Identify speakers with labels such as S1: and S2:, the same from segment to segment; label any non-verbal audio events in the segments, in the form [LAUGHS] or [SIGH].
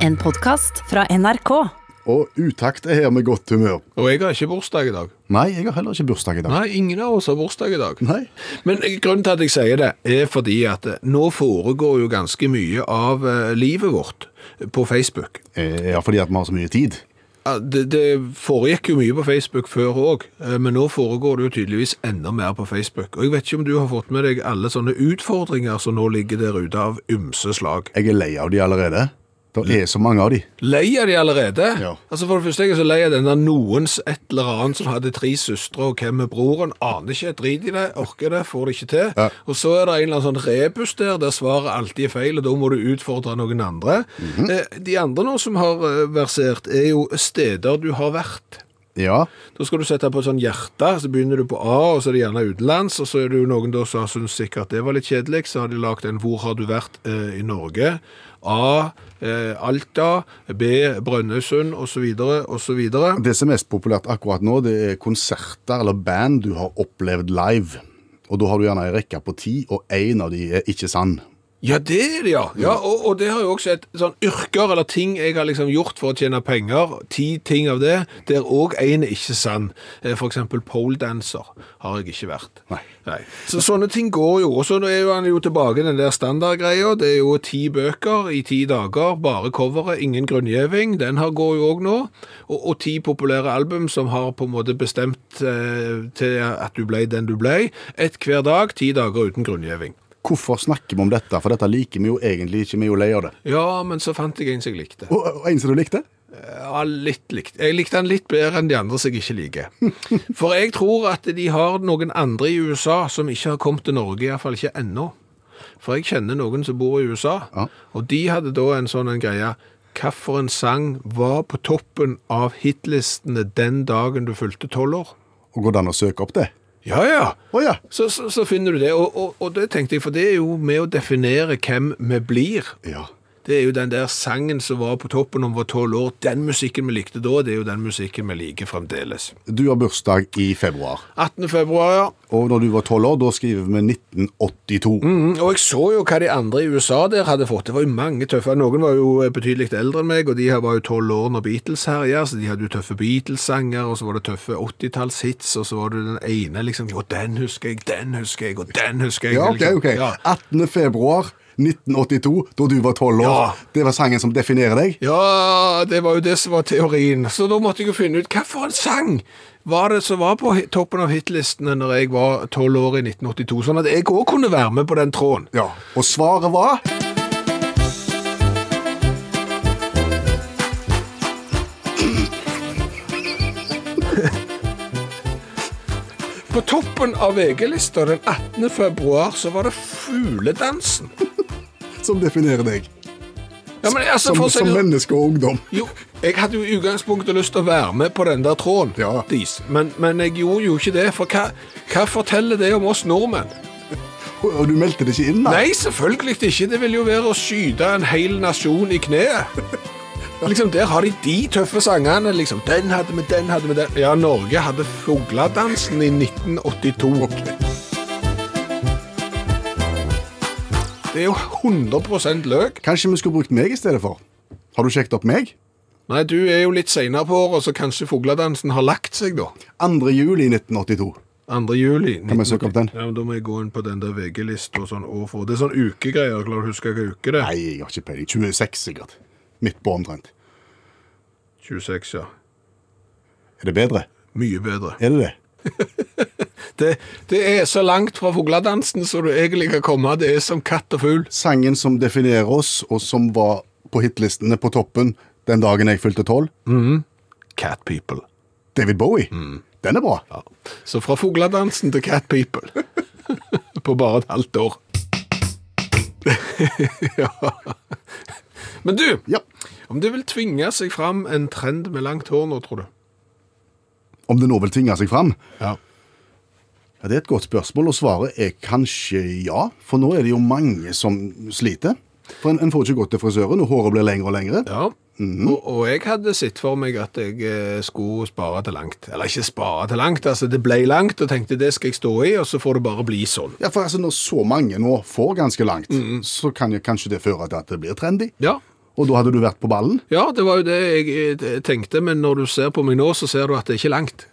S1: En podkast fra NRK.
S2: Og utakt er her med godt humør.
S3: Og jeg har ikke bursdag i dag.
S2: Nei, jeg har heller ikke bursdag i dag.
S3: Nei, ingen av oss har bursdag i dag.
S2: Nei.
S3: Men eh, grunnen til at jeg sier det, er fordi at eh, nå foregår jo ganske mye av eh, livet vårt på Facebook.
S2: Eh, Ja, fordi at vi har så mye tid.
S3: Ja, Det, det foregikk jo mye på Facebook før òg, eh, men nå foregår det jo tydeligvis enda mer på Facebook. Og jeg vet ikke om du har fått med deg alle sånne utfordringer som nå ligger der ute av ymse slag.
S2: Jeg er lei av de allerede. Det er så mange av de.
S3: Lei av de allerede?
S2: Ja.
S3: Altså For det første jeg er så lei av den der noens et eller annet som hadde tre søstre, og hvem er broren? Aner ikke, drit i det, orker det, får det ikke til.
S2: Ja.
S3: Og så er det en eller annen sånn rebus der der svaret alltid er feil, og da må du utfordre noen andre.
S2: Mhm.
S3: Eh, De andre nå som har eh, versert, er jo steder du har vært.
S2: Ja,
S3: Da skal du sette på et sånn hjerte, så begynner du på A, og så er det gjerne utenlands, og så er det jo noen da som syns sikkert det var litt kjedelig, så har de lagd en 'Hvor har du vært eh, i Norge?' A, eh, Alta, B, Brønnøysund, osv., osv.
S2: Det som er mest populært akkurat nå, det er konserter eller band du har opplevd live. Og da har du gjerne en rekke på ti, og én av de er ikke sann.
S3: Ja, det er det, ja. ja og, og det har jo også et sånn yrker eller ting jeg har liksom gjort for å tjene penger. Ti ting av det, der òg én er ikke sann. Eh, For eksempel poledancer har jeg ikke vært.
S2: Nei.
S3: Så sånne ting går jo. Og så nå er jo han jo tilbake i den der standardgreia. Det er jo ti bøker i ti dager, bare coveret, ingen grunngjeving. Den her går jo òg nå. Og, og ti populære album som har på en måte bestemt eh, til at du ble den du ble. Ett hver dag, ti dager uten grunngjeving.
S2: Hvorfor snakker vi om dette? For dette liker vi jo egentlig ikke, vi er jo lei av det.
S3: Ja, men så fant jeg en som jeg likte.
S2: Og, og en som du likte?
S3: Ja, litt likt. Jeg likte han litt bedre enn de andre som jeg ikke liker. [LAUGHS] For jeg tror at de har noen andre i USA som ikke har kommet til Norge, iallfall ikke ennå. For jeg kjenner noen som bor i USA,
S2: Ja.
S3: og de hadde da en sånn en greie Hvilken sang var på toppen av hitlistene den dagen du fylte tolv år?
S2: Og går det an å søke opp det?
S3: Ja, ja!
S2: Å ja.
S3: Så, så, så finner du det, og, og, og det tenkte jeg, for det er jo med å definere hvem vi blir.
S2: Ja.
S3: Det er jo den der sangen som var på toppen om vi var tolv år. Den musikken vi likte da, det er jo den musikken vi liker fremdeles.
S2: Du har bursdag i februar.
S3: 18. februar, ja.
S2: Og når du var tolv år, da skriver vi 1982.
S3: Mm, og jeg så jo hva de andre i USA der hadde fått. Det var jo mange tøffe. Noen var jo eh, betydelig eldre enn meg, og de her var jo tolv år når Beatles herja, så de hadde jo tøffe Beatles-sanger, og så var det tøffe 80-tallshits, og så var det den ene liksom Jo, den husker jeg, den husker jeg, og den husker jeg.
S2: Ja, ok,
S3: liksom.
S2: ok.
S3: Ja.
S2: 18. februar 1982, da du var 12 år.
S3: Ja.
S2: Det var sangen som definerer deg.
S3: Ja, det var jo det som var teorien. Så da måtte jeg jo finne ut hva for en sang var det som var på hi- toppen av hitlistene når jeg var tolv år i 1982, sånn at jeg òg kunne være med på den tråden.
S2: Ja. Og svaret var
S3: På toppen av VG-lista den 18. februar så var det fugledansen.
S2: som definerer deg.
S3: Ja, men altså,
S2: Som,
S3: for å si
S2: som
S3: det-
S2: menneske og ungdom.
S3: Jo, jeg hadde jo i utgangspunktet lyst til å være med på den der tråden,
S2: Ja.
S3: Dis. Men, men jeg gjorde jo ikke det, for hva, hva forteller det om oss nordmenn?
S2: Og du meldte det ikke inn, da?
S3: Nei, selvfølgelig ikke. Det vil jo være å skyte en hel nasjon i kneet. Liksom, Der har de de tøffe sangene. liksom, Den hadde vi, den hadde vi, den Ja, Norge hadde Fugladansen i 1982. Det er jo 100 løk.
S2: Kanskje vi skulle brukt meg i stedet for? Har du sjekket opp meg?
S3: Nei, du er jo litt seinere på året, så kanskje Fugladansen har lagt seg, da.
S2: 2. juli 1982.
S3: 2. juli.
S2: Kan vi søke opp den?
S3: Ja, men Da må jeg gå inn på den der VG-lista og sånn år for Det er sånn ukegreier. Klarer du å huske hvilken uke det er?
S2: Nei, jeg har ikke peiling. 26, sikkert. Midt på omtrent.
S3: 26, ja.
S2: Er det bedre?
S3: Mye bedre.
S2: Er det det?
S3: Det, det er så langt fra fugledansen som du egentlig kan komme. Det er som katt og fugl.
S2: Sangen som definerer oss, og som var på hitlistene på toppen den dagen jeg fylte 12,
S3: Cat people.
S2: David Bowie.
S3: Mm.
S2: Den er bra.
S3: Ja. Så fra fugledansen til cat people. [LAUGHS] På bare et halvt år. [LAUGHS] ja. Men du,
S2: Ja.
S3: om det vil tvinge seg fram en trend med langt hår nå, tror du?
S2: Om det nå vil tvinge seg fram?
S3: Ja.
S2: Ja, Det er et godt spørsmål, og svaret er kanskje ja. For nå er det jo mange som sliter. For En, en får ikke gått til frisøren, og håret blir lengre og lengre.
S3: Ja, og, og jeg hadde sett for meg at jeg eh, skulle spare til langt. Eller ikke spare til langt, altså det ble langt, og tenkte det skal jeg stå i, og så får det bare bli sånn.
S2: Ja,
S3: Mm.
S2: for altså Når så mange nå får ganske langt, så kan jo kanskje det føre til at det blir trendy.
S3: Ja,
S2: Og da hadde du vært på ballen?
S3: Ja, det var jo det jeg eh, tenkte, men når du ser på meg nå, så ser du at det er ikke langt.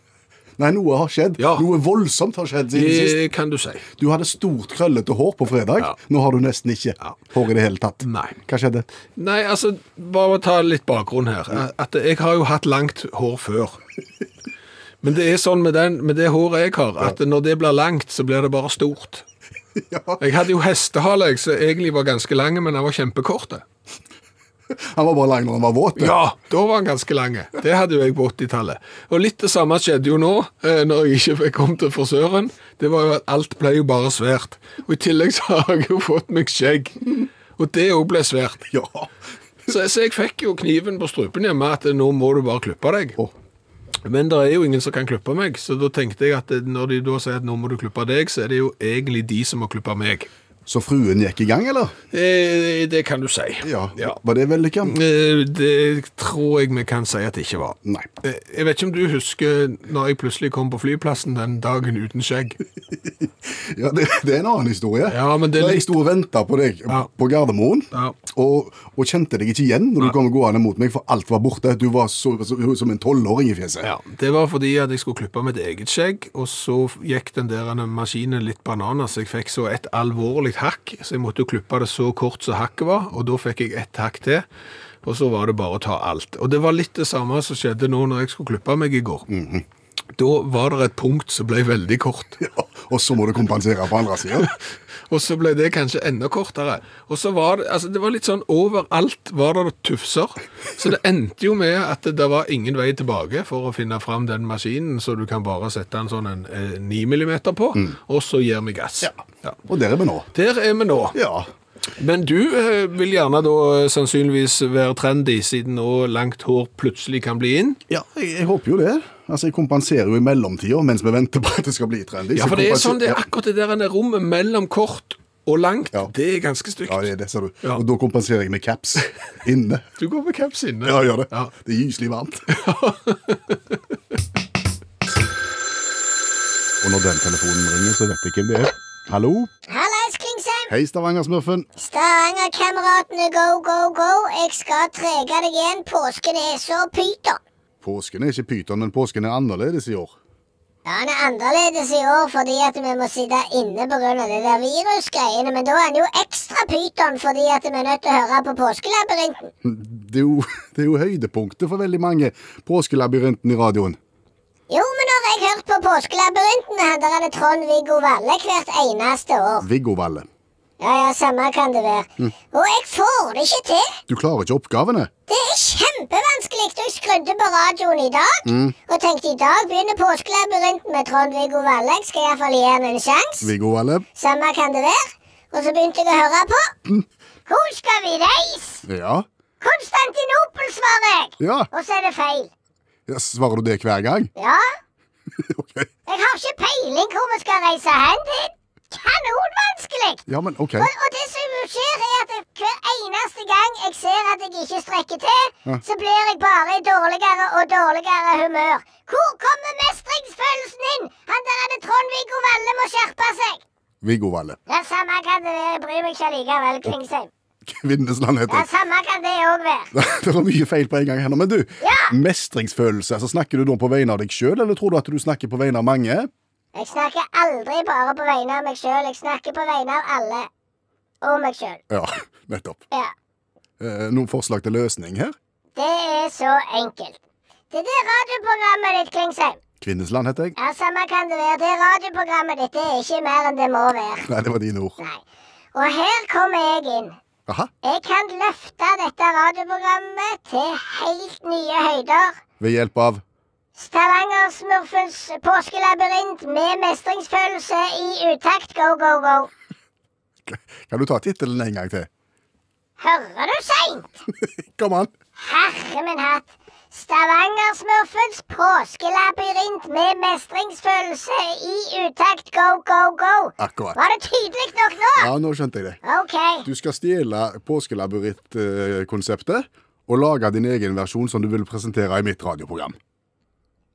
S2: Nei, noe har skjedd.
S3: Ja.
S2: Noe voldsomt har skjedd siden sist.
S3: Det kan du si.
S2: Du hadde stort krøllete hår på fredag.
S3: Ja.
S2: Nå har du nesten ikke hår i det hele tatt.
S3: Nei.
S2: Hva skjedde? [LAUGHS]
S3: Nei, altså, bare ta litt bakgrunn her. At jeg har jo hatt langt hår før. Men det er sånn med, den, med det håret jeg har, at når det blir langt, så blir det bare stort.
S2: Ja.
S3: Jeg hadde jo hestehale, jeg, som egentlig var ganske lang, men han var kjempekort.
S2: Han var bare lang når han var våt.
S3: Ja, da var han ganske lang. Det hadde jo jeg på 80-tallet. Og litt det samme skjedde jo nå, eh, når jeg ikke kom til frisøren. Det var jo at alt ble jo bare svært. Og i tillegg så har jeg jo fått meg skjegg. Og det òg ble svært.
S2: Ja.
S3: Så, så jeg fikk jo kniven på strupen hjemme at nå må du bare klippe deg.
S2: Å.
S3: Men det er jo ingen som kan klippe meg, så da tenkte jeg at når de da sier at nå må du klippe deg, så er det jo egentlig de som må klippe meg.
S2: Så fruen gikk i gang, eller?
S3: Eh, det kan du si. ja.
S2: Var det vellykka?
S3: Eh, Det tror jeg vi kan si at det ikke var.
S2: Nei.
S3: Eh, Jeg vet ikke om du husker når jeg plutselig kom på flyplassen den dagen uten skjegg.
S2: Ja, det, det er en annen historie.
S3: Ja, men det er
S2: Da
S3: litt-
S2: Jeg sto og venta på deg
S3: Ja.
S2: på Gardermoen.
S3: Ja.
S2: Og, og kjente deg ikke igjen når du kom gående mot meg, for alt var borte. Du var så, så, som en tolvåring i fjeset.
S3: Ja, Det var fordi at jeg skulle klippe mitt eget skjegg, og så gikk den der maskinen litt bananer, så jeg fikk så et alvorlig hakk, så jeg måtte jo klippe det så kort som hakket var, og da fikk jeg ett hakk til, og så var det bare å ta alt. Og det var litt det samme som skjedde nå når jeg skulle klippe meg i går. Da var det et punkt som ble veldig kort.
S2: Og så må du kompensere på andre sida.
S3: Og så ble det kanskje enda kortere. Og så var det altså det var litt sånn overalt var det tufser. Så det endte jo med at det, det var ingen vei tilbake for å finne fram den maskinen, så du kan bare sette en sånn en, eh, 9 millimeter på,
S2: Mm.
S3: og så gir vi gass. Ja.
S2: Og der er vi nå.
S3: Der er vi nå.
S2: Ja.
S3: Men du eh, vil gjerne da eh, sannsynligvis være trendy, siden nå langt hår plutselig kan bli inn.
S2: Ja, jeg, jeg håper jo det. Altså, Jeg kompenserer jo i mellomtida mens vi venter på at det skal bli trendy.
S3: Ja,
S2: Så
S3: for det er
S2: kompenser-
S3: sånn det er
S2: Ja.
S3: akkurat det der ene rommet mellom kort og langt.
S2: Ja.
S3: Det er ganske stygt.
S2: Ja, det er det, ser du.
S3: Ja.
S2: Og da kompenserer jeg med caps inne.
S3: Du går med caps inne.
S2: Ja, jeg gjør det.
S3: Ja.
S2: Det er gyselig varmt. Og når den telefonen ringer, så vet jeg hvem det er. Hallo?
S4: Hallais, Klingsheim!
S2: Hei, Stavanger-smurfen.
S4: Stavangerkameratene go, go, go. Jeg skal trege deg igjen. Påsken er så pyton.
S2: Påsken er ikke pyton, men påsken er annerledes i år.
S4: Ja, Han er annerledes i år fordi at vi må sitte inne pga. det der virusgreiene. Men da er han jo ekstra pyton fordi at vi er nødt til å høre på Påskelabyrinten.
S2: Det er jo, [LAUGHS] det er jo høydepunktet for veldig mange. Påskelabyrinten i radioen.
S4: Jo, men nå har jeg hørt på Påskelabyrinten, han der er det Trond-Viggo Valle hvert eneste år.
S2: Viggo Valle.
S4: Ja, ja, samme kan det være. Og jeg får det ikke til.
S2: Du klarer ikke oppgavene.
S4: Det er kjempevanskelig. og Jeg skrudde på radioen i dag og tenkte i dag begynner påskelabyrinten med Trond-Viggo Valle. Jeg skal iallfall gi han en sjanse.
S2: Viggo Valle.
S4: Samme kan det være. Og så begynte jeg å høre på. Hvor skal vi reise?
S2: Ja.
S4: Konstantinopel, svarer jeg.
S2: Ja.
S4: Og så er det feil.
S2: ja. Svarer du det hver gang? [LAUGHS]
S4: Ja,
S2: ok.
S4: jeg har ikke peiling hvor vi skal reise hen. Det er kanonvanskelig.
S2: Ja, men ok.
S4: Og, og det som jo skjer, er at hver eneste gang jeg ser at jeg ikke strekker til, så blir jeg bare i dårligere og dårligere humør. Hvor kommer mestringsfølelsen inn? Han der er det Trond-Viggo Valle må skjerpe seg.
S2: Viggo Valle.
S4: Ja, samme kan det være. Jeg bryr meg ikke likevel, Klingsheim.
S2: Kvinnesland heter
S4: Ja,
S2: jeg.
S4: samme kan det òg være.
S2: [LAUGHS] Det var mye feil på en gang her nå. Men du,
S4: Ja.
S2: mestringsfølelse. Altså, snakker du nå på vegne av deg sjøl, eller tror du at du snakker på vegne av mange?
S4: Jeg snakker aldri bare på vegne av meg sjøl. Jeg snakker på vegne av alle. Og meg sjøl.
S2: Ja, [LAUGHS] nettopp.
S4: Ja.
S2: Eh, noen forslag til løsning her?
S4: Det er så enkelt. Det der radioprogrammet ditt, Klingsheim.
S2: Kvinnesland heter jeg. [LAUGHS]
S4: Ja, samme kan det være. Det radioprogrammet ditt det er ikke mer enn det må være.
S2: Nei, det var dine ord.
S4: Nei. Og her kommer jeg inn.
S2: Aha.
S4: Jeg kan løfte dette radioprogrammet til helt nye høyder.
S2: Ved hjelp av [LAUGHS]
S4: Stavanger-smurfens påskelabyrint med mestringsfølelse i utakt. Go, go, go.
S2: Kan du ta tittelen en gang til? [LAUGHS]
S4: Hører du seint?
S2: Kom an!
S4: Herre min hatt. Stavanger-smurfens påskelabyrint med mestringsfølelse i utakt. Go, go, go.
S2: Akkurat.
S4: Var det tydelig nok nå?
S2: Ah, Ja, nå skjønte jeg det.
S4: OK.
S2: Du skal stjele påskelabyrint-konseptet og lage din egen versjon som du vil presentere i mitt radioprogram.
S4: Ja,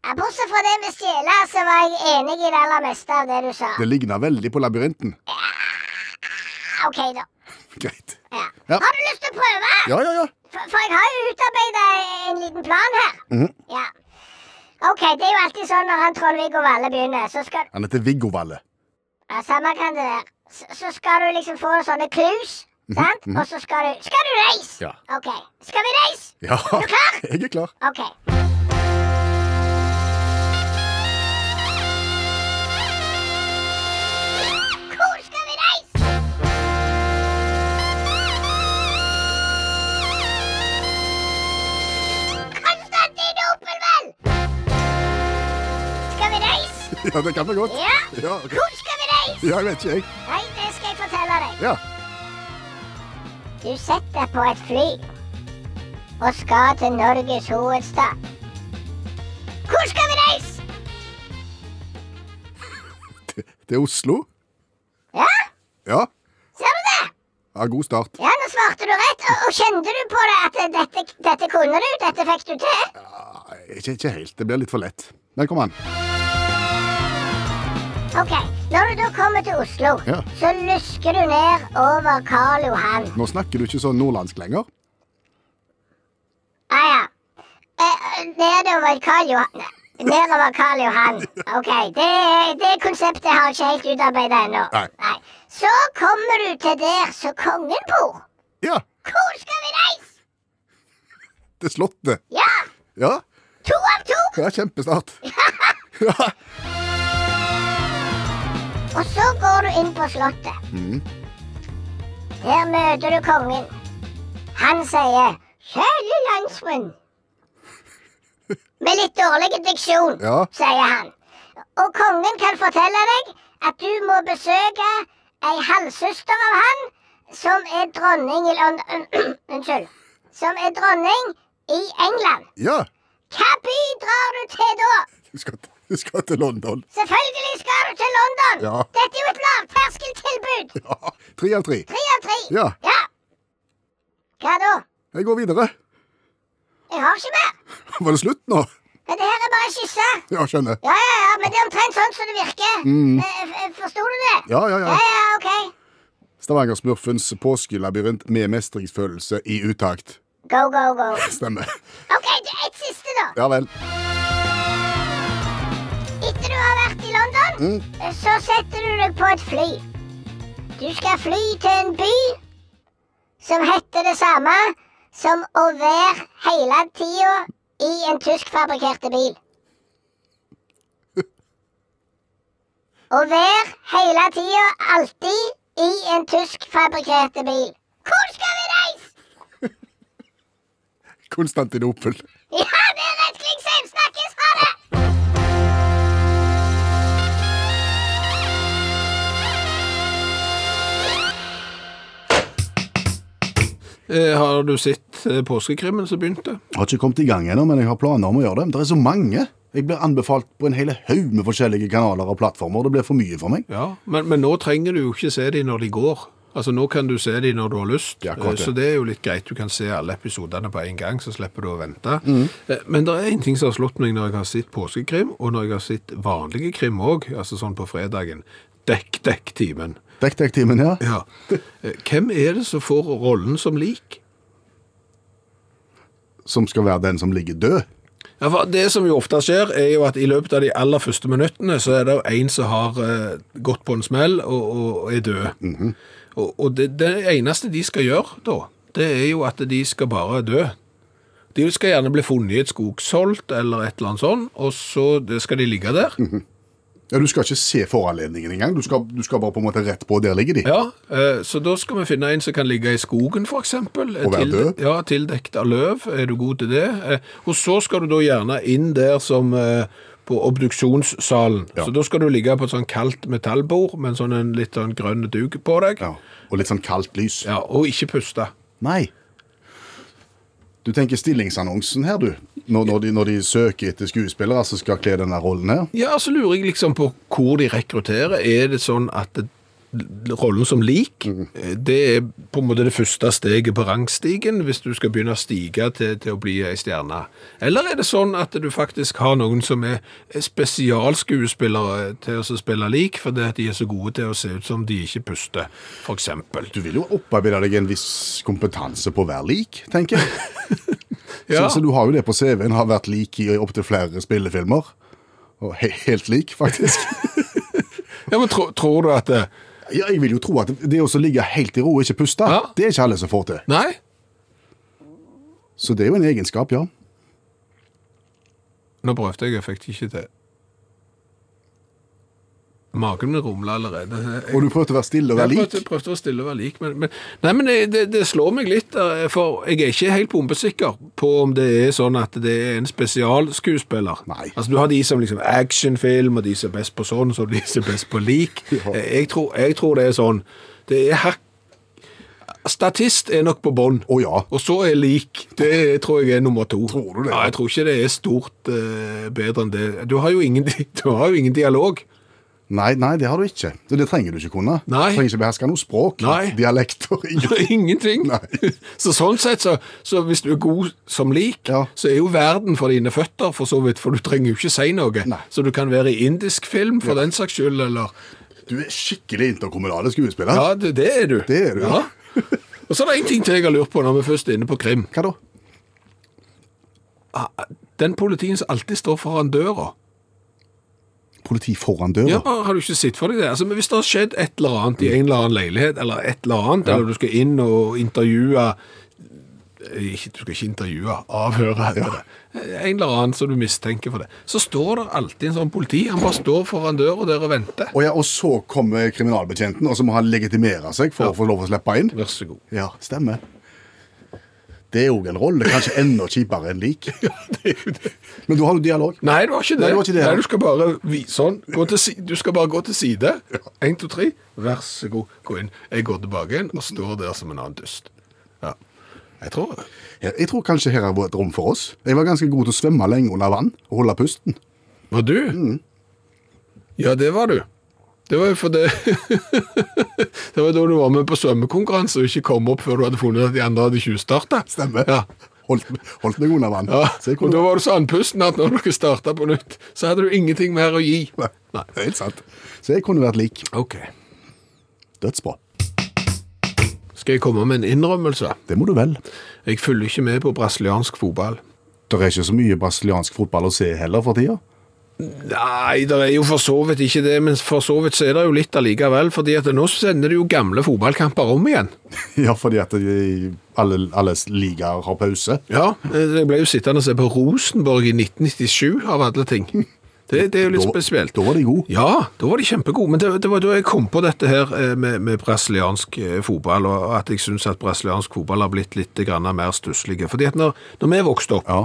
S4: Eh, Bortsett fra det med stjele, så var jeg enig i det aller meste av det du sa.
S2: Det ligner veldig på labyrinten. [LAUGHS]
S4: Ja, OK, da.
S2: Greit.
S4: Ja.
S2: Ja.
S4: Har du lyst til å prøve?
S2: Ja, ja, ja.
S4: For, for jeg har jo utarbeida en liten plan her.
S2: Mhm.
S4: Ja. OK, det er jo alltid sånn når han Trond-Viggo Valle begynner, så skal
S2: Han heter Viggo Valle.
S4: ja, Samme kan det være. Så, så skal du liksom få sånne clues, sant? Og så skal du Skal du reise?
S2: Mhm, Ja.
S4: OK. Skal vi reise?
S2: Ja, [LAUGHS]
S4: Er du klar?
S2: jeg er klar.
S4: OK. Hvor skal vi reise? Konstantinopel, vel! Skal vi reise?
S2: [LAUGHS] Ja, det kan vi godt.
S4: Ja.
S2: Ja, ok.
S4: Hvor skal vi reise?
S2: ja jeg vet ikke, jeg.
S4: Nei, det skal jeg fortelle deg.
S2: Ja.
S4: Du setter deg på et fly og skal til Norges hovedstad. Hvor skal vi reise?
S2: Det, det er Oslo.
S4: Ja,
S2: Ja.
S4: ser du det?
S2: ja, god start.
S4: Ja, nå svarte du rett. Og, og kjente du på det at dette, dette kunne du? Dette fikk du til?
S2: Nei, Ikke, ikke helt. Det blir litt for lett. Men kom an.
S4: Ok, Når du da kommer til Oslo,
S2: Ja.
S4: så lusker du ned over Karl Johan.
S2: Nå snakker du ikke sånn nordlandsk lenger.
S4: Ah, ja. Eh, nedover Karl Johan Nedover Karl Johan. OK. Det, det konseptet har jeg ikke helt utarbeida ennå.
S2: Nei.
S4: Så kommer du til der som kongen bor.
S2: Ja,
S4: Hvor skal vi reise?
S2: det er Slottet.
S4: Ja!
S2: Ja,
S4: To av to.
S2: ja kjempestart. Ja.
S4: Og så går du inn på Slottet.
S2: Mm.
S4: Der møter du kongen. Han sier 'Kjære landsmenn'. Med litt dårlig diksjon,
S2: Ja.
S4: sier han. Og kongen kan fortelle deg at du må besøke ei halvsøster av han som er dronning i Lond... [CLEARS THROAT] Unnskyld. Som er dronning i England.
S2: ja.
S4: Hva by drar du til da?
S2: Du skal, til- du skal til London.
S4: Selvfølgelig skal du til London!
S2: Ja.
S4: Dette er jo et lavterskeltilbud!
S2: Ja. Tre av tre.
S4: Tre av tre.
S2: Ja.
S4: ja. Hva da?
S2: Jeg går videre.
S4: Jeg har ikke mer.
S2: Var det slutt nå?
S4: Dette her er bare skisse.
S2: Ja, skjønner.
S4: Ja, ja, ja, men det er omtrent sånn som det virker. Eh, f- eh, Forsto du det?
S2: Mm. Ja, ja,
S4: ja,
S2: ja.
S4: ja OK.
S2: Stavanger-smurfens påskelabyrint med mestringsfølelse i utakt.
S4: Go, go, go.
S2: Stemmer.
S4: OK, du, et siste, da.
S2: Ja vel.
S4: Etter du har vært i London, eh, så setter du deg på et fly. Du skal fly til en by som heter det samme som å være hele tida i en tyskfabrikkerte bil. Å være hele tida, alltid, i en tyskfabrikkerte bil. Hvor skal vi reise? [LAUGHS]
S2: Konstantinopel.
S4: Ja, det er rett Klingsheim! Snakkes! Ha det!
S3: Eh, har du sett eh, påskekrimmen som begynte?
S2: Har ikke kommet i gang ennå, men jeg har planer om å gjøre det. Det er så mange. Jeg blir anbefalt på en hel haug med forskjellige kanaler og plattformer. Det blir for mye for meg.
S3: Ja, men, men nå trenger du jo ikke se de når de går. Altså Nå kan du se de når du har lyst,
S2: Ja, akkurat det.
S3: Eh, så det er jo litt greit. Du kan se alle episodene på en gang, så slipper du å vente.
S2: Mm.
S3: Eh, Men det er en ting som har slått meg når jeg har sett påskekrim, og når jeg har sett vanlige krim òg, altså sånn på fredagen. Dekk, dekk timen.
S2: Detektimen her.
S3: Ja. Eh, Hvem er det som får rollen som lik?
S2: som skal være den som ligger død.
S3: Ja, for Det som jo ofte skjer, er jo at i løpet av de aller første minuttene, så er det jo en som har eh, gått på en smell og, og er død. Og, og det, det eneste de skal gjøre da, det er jo at de skal bare dø. De skal gjerne bli funnet i et skogsholt eller et eller annet sånt, og så det skal de ligge der.
S2: Ja, Du skal ikke se foranledningen engang. Du skal, du skal bare på en måte rett på, og der ligger de.
S3: Ja, eh, så da skal vi finne en som kan ligge i skogen, for eksempel.
S2: Og være død.
S3: Ja, tildekt av løv. Er du god til det? Eh, Og så skal du da gjerne inn der som eh, på obduksjonssalen.
S2: Ja.
S3: Så da skal du ligge på et sånn kaldt metallbord med en sånn en litt sånn grønn duk på deg.
S2: Ja, Og litt sånn kaldt lys.
S3: Ja, og ikke puste.
S2: Nei. Du tenker stillingsannonsen her, du. Når, når, de, når de søker etter skuespillere som skal kle denne rollen her.
S3: Ja, så lurer jeg liksom på hvor de rekrutterer. Er det sånn at l- rollen som lik, eh, det er på en måte det første steget på rangstigen, hvis du skal begynne å stige til, til å bli ei stjerne. Eller er det sånn at du faktisk har noen som er spesialskuespillere til å spille lik, fordi at de er så gode til å se ut som de ikke puster, for eksempel?
S2: Du vil jo opparbeide deg en viss kompetanse på å være lik, tenker jeg.
S3: Ja.
S2: så, så du har jo det på CV-en, har vært lik i opptil flere spillefilmer. Og he helt lik, faktisk.
S3: Ja, men tro, tror du at eh, det,
S2: [LAUGHS] Ja, jeg vil jo tro at det å ligge helt i ro og ikke puste,
S3: Ja.
S2: det er ikke alle som får til.
S3: Nei?
S2: Så det er jo en egenskap, ja.
S3: Nå prøvde jeg, jeg fikk det ikke til. Magen min rumler allerede. Jeg-
S2: Og du prøvde å være stille og være
S3: Jeg
S2: lik.
S3: prøvde, prøvde å stille og være lik, men, men, nei, men det, det, det slår meg litt, eh, for jeg er ikke helt bombesikker på om det er sånn at det er en spesialskuespiller.
S2: Nei.
S3: Altså, du har de som liksom actionfilm, og de som er best på sånn, og de som er best på lik.
S2: [LAUGHS] Ja.
S3: Eh, Jeg, tror, jeg tror det er sånn. Det er hakk... Statist er nok på bånd.
S2: Å ja.
S3: Og så er lik. Det tror jeg er nummer to.
S2: Tror du det?
S3: Ja, jeg tror ikke det er stort eh, bedre enn det. Du har jo ingen, [LAUGHS] di- du har jo ingen dialog.
S2: Nei, nei, det har du ikke. Så Det trenger du ikke kunne.
S3: Nei.
S2: Du trenger ikke beherske noe språk,
S3: Nei.
S2: [LAUGHS] dialekter
S3: [LAUGHS] Det
S2: ingenting.
S3: er Ingenting.
S2: Nei.
S3: [LAUGHS] Så sånn sett, så, så hvis du er god som lik,
S2: Ja.
S3: så er jo verden for dine føtter, for så vidt, for du trenger jo ikke si noe.
S2: Nei.
S3: Så du kan være i indisk film, for den saks skyld, eller
S2: Du er skikkelig interkommunale skuespiller.
S3: Ja, det, det er du.
S2: Det er du.
S3: Ja. Og så er det en ting til jeg har lurt på når vi først er inne på krim.
S2: Hva da?
S3: Den politien som alltid står foran døra.
S2: Politi foran døra?
S3: Ja, har du ikke sett for deg det? Altså, men hvis det har skjedd et eller annet i en eller annen leilighet, eller et eller annet, eller du skal inn og intervjue eh, ikke, Du skal ikke intervjue, avhøre heter det. Eh, En eller annen som du mistenker for det. Så står det alltid en sånn politi. Han bare står foran døra der og venter.
S2: Og, ja, og så kommer kriminalbetjenten, og så må han legitimere seg for
S3: Ja.
S2: å få lov å slippe inn?
S3: Vær så god.
S2: Ja, stemmer. Det er òg en rolle. Kanskje enda kjipere enn [LAUGHS] lik. Men da har du dialog.
S3: Nei, det var ikke det.
S2: Nei, det var ikke det, ja.
S3: Nei, du skal bare vi- sånn. Gå til, si- du skal bare gå til side. Én, to, tre. Vær så god, gå inn. Jeg går tilbake igjen og står der som en annen dust. Ja. Jeg tror det.
S2: Jeg jeg tror kanskje her er et rom for oss. Jeg var ganske god til å svømme lenge under vann og holde pusten.
S3: Var du?
S2: Mm.
S3: Ja, det var du. Det var jo for det [LAUGHS] Det var da du var med på svømmekonkurranse og ikke kom opp før du hadde funnet at de andre hadde tjuvstarta.
S2: Stemmer.
S3: Ja.
S2: [LAUGHS] Holdt, holdt meg under vann.
S3: Ja.
S2: Så jeg
S3: Og
S2: kunne...
S3: da var du så andpusten at når dere starta på nytt, så hadde du ingenting mer å gi.
S2: [LAUGHS] Nei, Helt sant. Så jeg kunne vært lik.
S3: Ok.
S2: Dødsbra.
S3: Skal jeg komme med en innrømmelse?
S2: Det må du vel.
S3: Jeg følger ikke med på brasiliansk fotball.
S2: Det er ikke så mye brasiliansk fotball å se heller for tida.
S3: Nei, det er jo for så vidt ikke det, men for så vidt så er det jo litt allikevel. fordi at nå sender de jo gamle fotballkamper om igjen.
S2: [LAUGHS] Ja, fordi at de, alle, alle ligaer har pause.
S3: Ja, eh, jeg ble jo sittende og se på Rosenborg i 1997, av alle ting. Det, det er jo litt spesielt.
S2: Da var de gode.
S3: Ja, da var de kjempegode, men det, det var da jeg kom på dette her eh, med, med brasiliansk eh, fotball, og at jeg syns at brasiliansk fotball har blitt litt grann mer stusslige. Fordi at når, når vi vokste opp,
S2: Ja.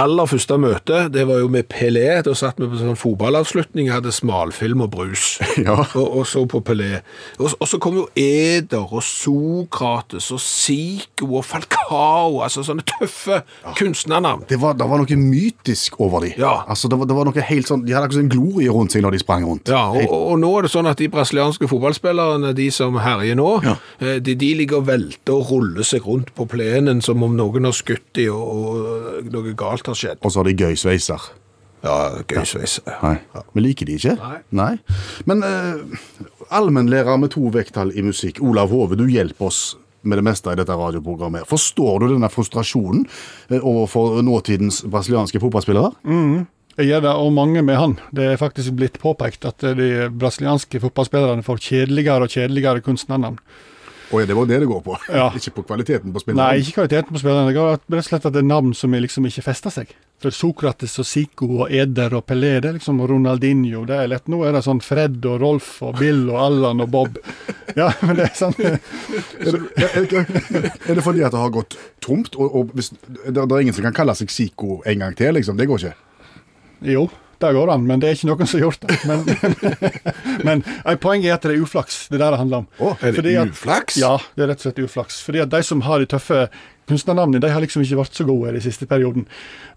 S3: aller første møte, det var jo med Pelé, da satt vi på sånn fotballavslutning, jeg hadde smalfilm og brus.
S2: [LAUGHS] Ja.
S3: Og, og så på Pelé. Og, og så kom jo Eder og Sokrates og Zico og Falcao, altså sånne tøffe kunstnernavn.
S2: Det var, det var noe mytisk over de.
S3: Ja.
S2: Altså, det var, det var noe helt sånn, De hadde akkurat en glorie rundt seg når de sprang rundt.
S3: Ja, og, og nå er det sånn at de brasilianske fotballspillerne, de som herjer nå,
S2: Ja.
S3: eh, de, de ligger og velter og ruller seg rundt på plenen som om noen har skutt de og, og noe galt har skjedd.
S2: Og så har de gøy sveiser.
S3: Ja, gøy sveis.
S2: Nei. Vi liker de ikke.
S3: Nei.
S2: Men eh, allmennlærer med to vekttall i musikk, Olav Hove, du hjelper oss med det meste i dette radioprogrammet. Forstår du denne frustrasjonen eh, overfor nåtidens brasilianske fotballspillere?
S5: Jeg gjør det, og mange med han. Det er faktisk blitt påpekt at eh, de brasilianske fotballspillerne får kjedeligere og kjedeligere kunstnernavn.
S2: Å ja, det var det det går på.
S5: Ja.
S2: [LAUGHS] ikke på kvaliteten på spilleren.
S5: Nei, ikke kvaliteten på spillerne. Det går rett og slett at det er navn som er liksom ikke fester seg. For Sokrates og Zico og Eder og Pelé, det er liksom Ronaldinho. Det er lett. Nå er det sånn Fred og Rolf og Bill og Allan og Bob. Ja, men det er sånn. sant.
S2: Er det, er, det, er det fordi at det har gått tomt? Og, og hvis, det, det er ingen som kan kalle seg Zico en gang til, liksom? Det går ikke?
S5: Jo, det går an, men det er ikke noen som har gjort det. Men, [LAUGHS] men nei, poenget er at det er uflaks. Det er det det handler om.
S2: Å,
S3: er det
S5: Fordi at-
S3: uflaks?
S5: Ja, det er rett og slett uflaks. Fordi at de som har de tøffe kunstnernavnene de har liksom ikke vært så gode i den siste perioden.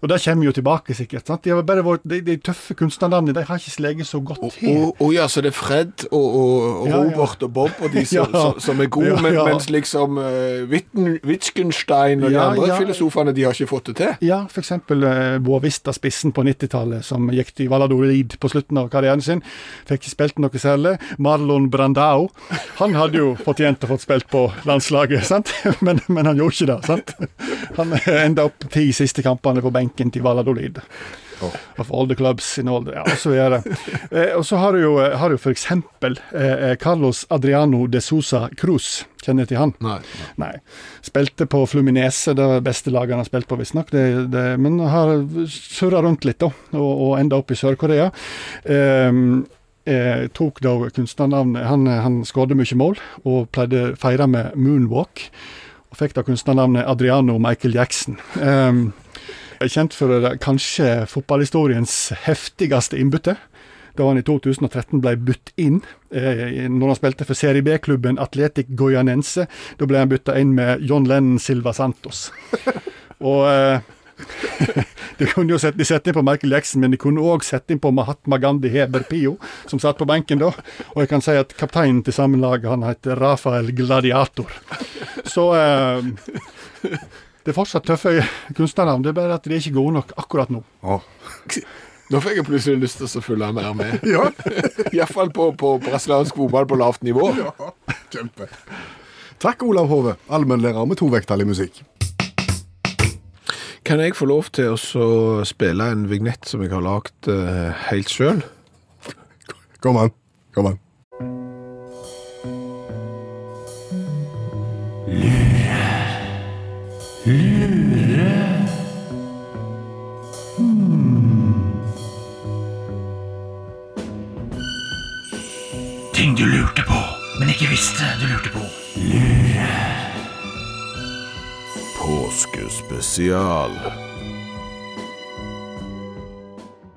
S5: Og det kommer jo tilbake, sikkert. sant? De har bare vært, de, de tøffe kunstnernavnene de har ikke sleget så godt til.
S3: Å å ja, så det er Fred og, og, og
S5: Ja, ja.
S3: Robert og Bob og de
S5: [LAUGHS]
S3: som,
S5: Ja.
S3: som, som er gode,
S5: Ja,
S3: men-
S5: ja.
S3: mens liksom eh, Witten, Wittgenstein og de
S5: Ja,
S3: andre
S5: ja.
S3: filosofene, de har ikke fått det til.
S5: Ja, f.eks. Eh, Boavista-spissen på 90-tallet, som gikk til Valladolid på slutten av karrieren sin. Fikk ikke spilt noe særlig. Marlon Brandao. Han hadde jo fortjent å fått spilt på landslaget, [LAUGHS] sant? Men, men han gjorde ikke det. sant? Han eh, enda opp ti siste kampene på benken til Valladolid. Of all the clubs in all the, ja, og så videre. Eh, og så har du jo, har du for eksempel eh, Carlos Adriano de Sousa Cruz. Kjenner du til han?
S3: Nei.
S5: Nei. Spilte på Fluminese, det var det beste laget han har spilt på, visstnok. Det- det- Men har surra rundt litt, da, og, og enda opp i Sør-Korea. Ehm, eh, tok da kunstnernavnet Han, han skårte mye mål, og pleide feire med moonwalk. Og fikk da kunstnernavnet Adriano Michael Jackson. Ehm, er kjent for det kanskje fotballhistoriens heftigste innbytte. Da han i 2013 ble bytt inn eh, når han spilte for Serie B-klubben Atletic Goyanense. Da ble han bytta inn med John Lennon Silva Santos. [LAUGHS] Og eh, [LAUGHS] de kunne jo sette, de sette inn på Michael Jackson, men de kunne òg sette inn på Mahatma Gandhi Heber Pio, som satt på benken da. Og jeg kan si at kapteinen til sammenlaget, han heter Rafael Gladiator. Så eh, det er fortsatt tøffe kunstnernavn, det er bare at de er ikke gode nok akkurat nå.
S2: Å.
S3: Nå fikk jeg plutselig lyst til å følge mer med.
S2: Ja,
S3: [LAUGHS] Iallfall på, på brasiliansk fotball på lavt nivå.
S2: kjempe. Takk, Olav Hove, allmennlærer med to vekttall i musikk.
S3: Kan jeg få lov til å så spille en vignett som jeg har lagd eh, helt sjøl?
S2: Kom an. Kom an.
S6: Ting du lurte på, men ikke visste du lurte på.
S3: Påskespesial.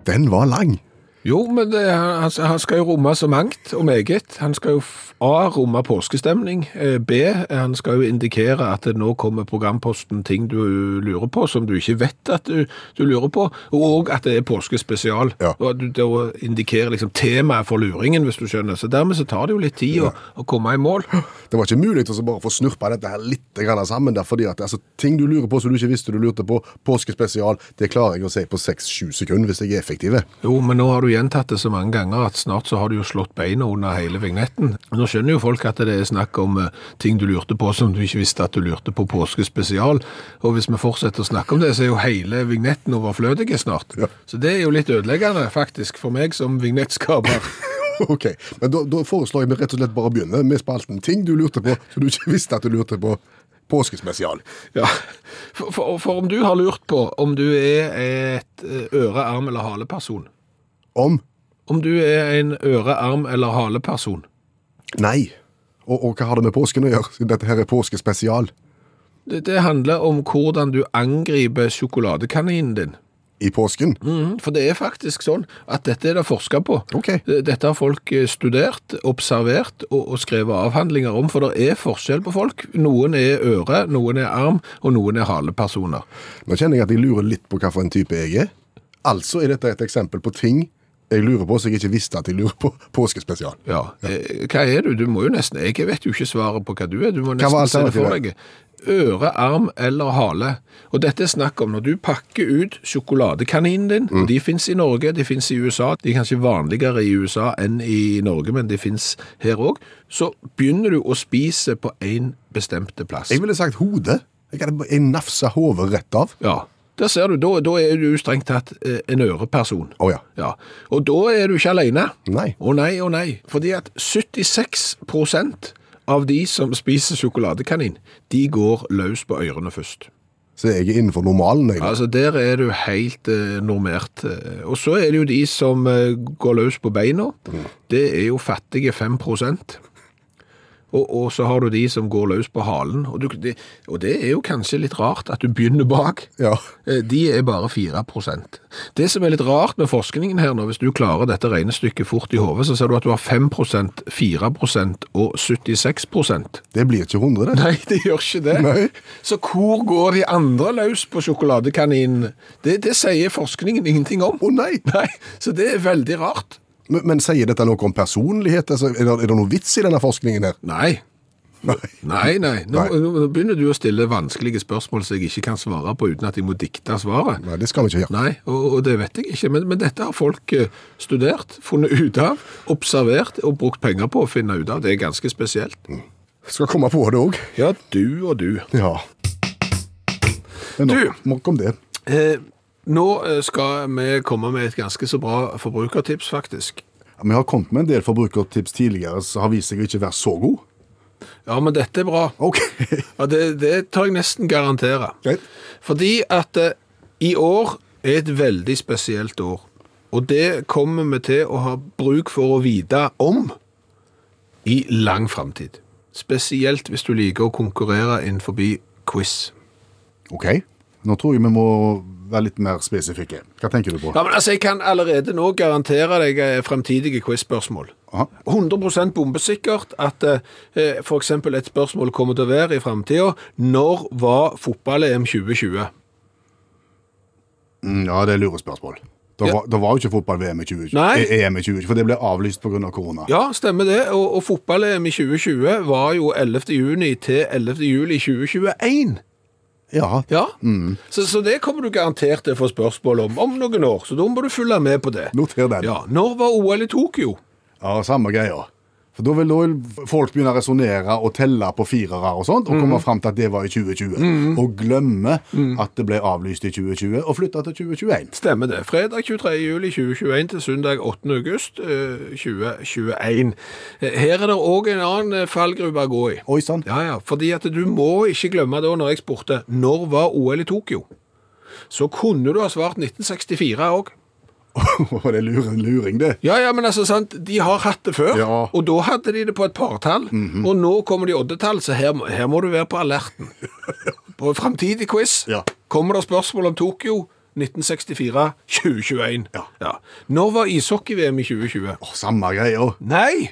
S2: Den var lang.
S3: Jo, men det, han, han- han skal jo romme så mangt og meget. Han skal jo f- A. romme påskestemning. eh, B. Han skal jo indikere at det nå kommer programposten ting du lurer på som du ikke vet at du, du lurer på, og at det er påskespesial.
S2: Ja.
S3: Og at du da indikerer liksom temaet for luringen, hvis du skjønner. Så dermed så tar det jo litt tid å, å komme i mål.
S2: Det var ikke mulig til å bare få snurpa dette her litt grann sammen. Der, fordi at, altså, ting du lurer på som du ikke visste du lurte på, påskespesial, det klarer jeg å si på seks-sju sekunder hvis jeg er effektiv. [LAUGHS]
S3: Jo, men nå har du gjentatt det så mange ganger at snart så har du jo slått beina under hele vignetten. Nå skjønner jo folk at det er snakk om eh, ting du lurte på som du ikke visste at du lurte på påskespesial. Og hvis vi fortsetter å snakke om det, så er jo hele vignetten overflødig snart. Så det er jo litt ødeleggende faktisk for meg som vignettskaper.
S2: Ok, men da, da foreslår jeg meg rett og slett bare å begynne med spalten ting du lurte på som du ikke visste at du lurte på. Påskespesial.
S3: Ja, [LAUGHS] for, for, for om du har lurt på om du er et eh, øre-, arm- eller haleperson.
S2: Om
S3: Om du er en øre-, arm- eller haleperson.
S2: Nei. Og, og hva har det med påsken å gjøre, siden dette her er påskespesial
S3: Det, det handler om hvordan du angriper sjokoladekaninen din.
S2: i påsken?
S3: Mhm, For det er faktisk sånn at dette er det forska på.
S2: Ok.
S3: Dette har folk eh, studert, observert og, og skrevet avhandlinger om, for det er forskjell på folk. Noen er øre, noen er arm, og noen er halepersoner.
S2: Nå kjenner jeg at jeg lurer litt på hva for en type jeg er. Altså er dette et eksempel på ting jeg lurer på som jeg ikke visste at jeg lurer på. Påskespesial.
S3: Ja. Eh, Hva er du? Du må jo nesten Jeg vet jo ikke svaret på hva du er. Du må
S2: var
S3: nesten se det for
S2: alternativet?
S3: deg. Øre, arm eller hale. Og dette er snakk om når du pakker ut sjokoladekaninen din.
S2: Mm.
S3: og De fins i Norge, de fins i USA. De er kanskje vanligere i USA enn i Norge, men de fins her òg. Så begynner du å spise på én bestemte plass.
S2: Jeg ville sagt hode. Jeg hadde bare- jeg nafsa hodet rett av.
S3: Ja. Der ser du. Da, da er du strengt tatt eh, en øreperson.
S2: Å ja.
S3: Ja, og da er du ikke alene.
S2: Nei.
S3: Å nei, å nei. Fordi at 76 av de som spiser sjokoladekanin, de går løs på ørene først.
S2: Så jeg er innenfor normalen. Jeg.
S3: Altså, der er du helt eh, normert. Eh, Og så er det jo de som eh, går løs på beina. Det er jo fattige 5 Og, og så har du de som går løs på halen. Og, du, det, og det er jo kanskje litt rart at du begynner bak.
S2: Ja.
S3: Eh, De er bare 4 Det som er litt rart med forskningen her nå, hvis du klarer dette regnestykket fort i hodet, så ser du at du har 5 4 og 76
S2: Det blir ikke 100, det.
S3: [LAUGHS] Nei, det gjør ikke det.
S2: Nei.
S3: Så hvor går de andre løs på sjokoladekaninen? Det, det sier forskningen ingenting om.
S2: Å nei!
S3: [LAUGHS] Nei, så det er veldig rart.
S2: Men, men sier dette noe om personlighet? Altså, er, det, er det noe vits i denne forskningen her?
S3: Nei.
S2: Nei.
S3: Nei, nei. Nå,
S2: Nei.
S3: nå begynner du å stille vanskelige spørsmål som jeg ikke kan svare på uten at jeg må dikte svaret.
S2: Nei, det skal vi ikke gjøre.
S3: Nei, og, og det vet jeg ikke, men, men dette har folk eh, studert, funnet ut av, observert og brukt penger på å finne ut av. Det er ganske spesielt.
S2: Skal komme på det òg.
S3: Ja, du og du.
S2: Ja. Men
S3: Du!
S2: nok, nok om det.
S3: Eh, nå eh, skal vi komme med et ganske så bra forbrukertips, faktisk.
S2: Vi har kommet med en del forbrukertips tidligere som har vist seg å ikke være så god.
S3: Ja, men dette er bra.
S2: Ok, [LAUGHS]
S3: Ja, det, det tar jeg nesten garantere.
S2: greit.
S3: Fordi at eh, i år er et veldig spesielt år. Og det kommer vi til å ha bruk for å vite om i lang framtid. Spesielt hvis du liker å konkurrere innenfor quiz.
S2: Ok, nå tror jeg vi må være litt mer spesifikke. Hva tenker du på?
S3: Ja, men altså, Jeg kan allerede nå garantere deg eh, fremtidige quiz-spørsmål.
S2: Aha.
S3: 100 bombesikkert at eh, f.eks. et spørsmål kommer til å være i framtida Når var fotball-EM 2020?
S2: Mm, Ja, det er lurespørsmål. Det
S3: Ja.
S2: var, det var jo ikke fotball-VM i 2020,
S3: Nei.
S2: Eh, EM i 2020, for det ble avlyst pga. Av korona.
S3: Ja, stemmer det. Og, og fotball-EM i 2020 var jo 11. juni til 11. juli 2021.
S2: Ja.
S3: Ja. Så, så det kommer du garantert til å få spørsmål om om noen år, så da må du følge med på det.
S2: Noter den.
S3: Ja, Når var OL i Tokyo?
S2: Ja, samme greia. For Da vil, da vil folk begynne å resonnere og telle på firere og sånt, og
S3: Mhm.
S2: komme fram til at det var i 2020. Og glemme at det ble avlyst i 2020 og flytta til 2021.
S3: Stemmer det. Fredag 23. juli 2021 til søndag 8. august eh, 2021. Eh, Her er det òg en annen eh, fallgruve å gå i.
S2: Oi sann.
S3: Ja, ja, fordi at du må ikke glemme da når jeg spurte når var OL i Tokyo, så kunne du ha svart 1964 òg.
S2: [LAUGHS] det er lur- en luring, det.
S3: Ja, ja, men altså, sant, de har hatt det før,
S2: Ja. Mhm.
S3: og da hadde de det på et partall, og nå kommer de i oddetall, så her, må- her må du være på
S2: [LAUGHS]
S3: alerten. På en fremtidig quiz
S2: Ja.
S3: kommer det spørsmål om Tokyo 1964-2021.
S2: Ja.
S3: Når var ishockey-VM i 2020?
S2: Å, samme greia.
S3: Nei!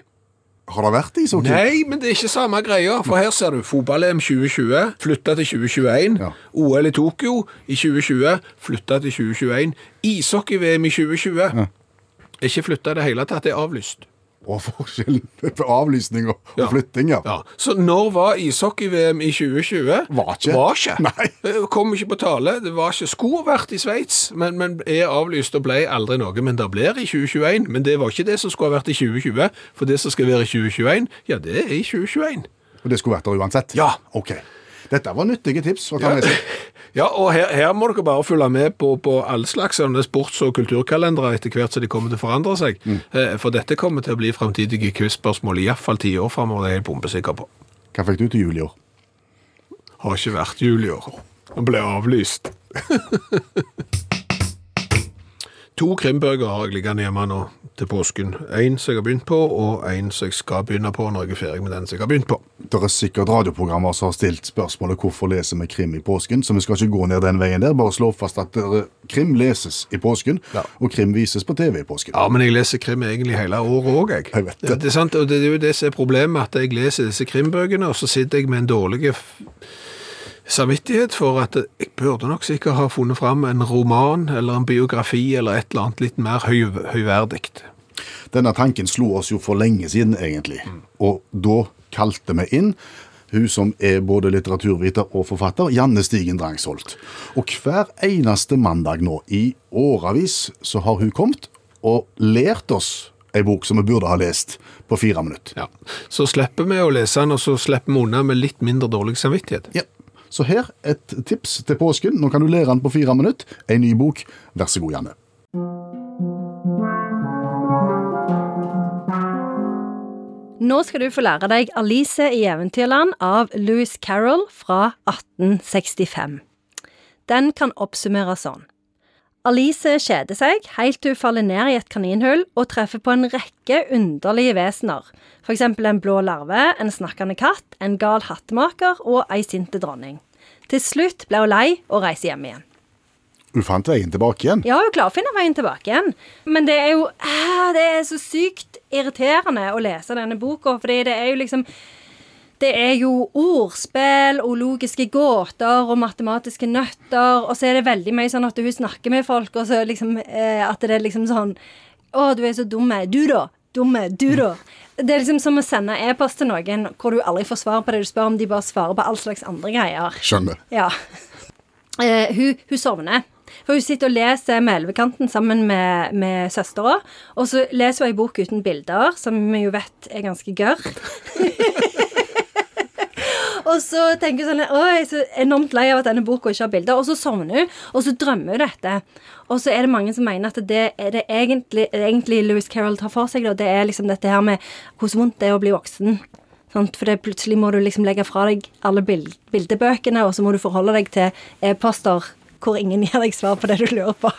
S2: Har det vært ishockey?
S3: Nei, men det er ikke samme greia, for her ser du fotball-EM 2020 flytta til 2021,
S2: Ja.
S3: OL i Tokyo i 2020 flytta til 2021, ishockey-VM i 2020 ikke flytta i det hele tatt, det er avlyst.
S2: Og forskjellen på avlysning og, og flytting, ja.
S3: Ja, Så når var ishockey-VM i 2020?
S2: Var ikke.
S3: Var ikke.
S2: Nei.
S3: Eh, Kom ikke på tale. Det var ikke skulle ha vært i Sveits, men, men er avlyst og ble aldri noe. Men det blir i 2021. Men det var ikke det som skulle ha vært i 2020, for det som skal være i 2021, ja, det er i 2021.
S2: Og det skulle vært der uansett?
S3: Ja.
S2: Ok. Dette var nyttige tips. å ta med seg.
S3: Ja, og her, her må dere bare følge med på, på alle slags sånne sports- og kulturkalendere etter hvert som de kommer til å forandre seg.
S2: Mm.
S3: Eh, For dette kommer til å bli framtidige quiz-spørsmål, iallfall ti år framover, det er jeg bombesikker på.
S2: Hva fikk du til jul i år?
S3: Har ikke vært jul i år. Han ble avlyst. to krimbøker har jeg liggende hjemme nå til påsken. En som jeg har begynt på, og en som jeg skal begynne på når jeg er ferdig med den som jeg har begynt på.
S2: Det er sikkert radioprogrammer som har stilt spørsmålet hvorfor leser vi krim i påsken, så vi skal ikke gå ned den veien der. Bare slå fast at dere- krim leses i påsken,
S3: Ja.
S2: og krim vises på TV i påsken.
S3: Ja, men jeg leser krim egentlig hele året òg, jeg.
S2: Jeg vet det.
S3: Det er sant, og det er jo det som er problemet, at jeg leser disse krimbøkene, og så sitter jeg med en dårlig f- samvittighet for at jeg burde nok sikkert ha funnet fram en roman eller en biografi eller et eller annet litt mer høy, høyverdig.
S2: Denne tanken slo oss jo for lenge siden, egentlig. Og da kalte vi inn hun som er både litteraturviter og forfatter, Janne Stigen Drangsholt. Og hver eneste mandag nå, i årevis, så har hun kommet og lært oss ei bok som vi burde ha lest på fire minutter.
S3: Ja. Så slipper vi å lese den, og så slipper vi unna med litt mindre dårlig samvittighet.
S2: Ja. Så her et tips til påsken. Nå kan du lære den på fire minutter. Ei ny bok. Vær så god, Janne.
S1: Nå skal du få lære deg Alice i Eventyrland av Louis Carroll fra 1865. Den kan oppsummere sånn. Alice kjeder seg helt til hun faller ned i et kaninhull og treffer på en rekke underlige vesener. F.eks. en blå larve, en snakkende katt, en gal hattemaker og ei sinte dronning. Til slutt ble hun lei og reiser hjem igjen.
S2: Hun fant veien tilbake igjen.
S1: Ja, hun klarer å finne veien tilbake igjen, men det er jo ah, Det er så sykt irriterende å lese denne boka, fordi det er jo liksom det er jo ordspill og logiske gåter og matematiske nøtter, og så er det veldig mye sånn at hun snakker med folk, og så liksom eh, At det er liksom sånn Å, du er så dumme. Du, da? Dumme. Du, da? Det er liksom som å sende e-post til noen hvor du aldri får svar på det du spør om, de bare svarer på all slags andre greier.
S2: Skjønner.
S1: Ja. Eh, hun, hun sovner. For hun sitter og leser med elvekanten sammen med, med søstera. Og så leser hun ei bok uten bilder, som vi jo vet er ganske gørr. og så tenker hun sånn Å, jeg er så enormt lei av at denne boka ikke har bilder. Og så sovner hun, og så drømmer hun dette. Og så er det mange som mener at det er det egentlig, det er egentlig Lewis Carroll tar for seg, da. Det er liksom dette her med hvordan vondt det er å bli voksen. Sant? For det, plutselig må du liksom legge fra deg alle bil bildebøkene, og så må du forholde deg til e-poster hvor ingen gir deg svar på det du lurer på.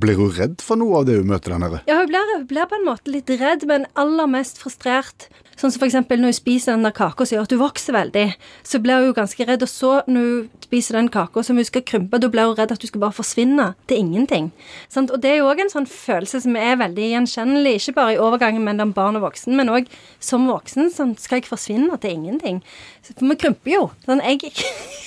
S2: Blir hun redd for noe av det hun møter den herre?
S1: Ja, hun blir, hun blir på en måte litt redd, men aller mest frustrert. Sånn som for eksempel når hun spiser den der kaka som gjør at hun vokser veldig, så blir hun jo ganske redd. Og så, når hun spiser den kaka som hun skal krympe, da blir hun redd at hun skal bare forsvinne til ingenting. Sant? Og det er jo òg en sånn følelse som er veldig gjenkjennelig, ikke bare i overgangen mellom barn og voksen, men òg som voksen. Sånn, skal jeg forsvinne til ingenting? Så- For vi krymper jo. Sånn, jeg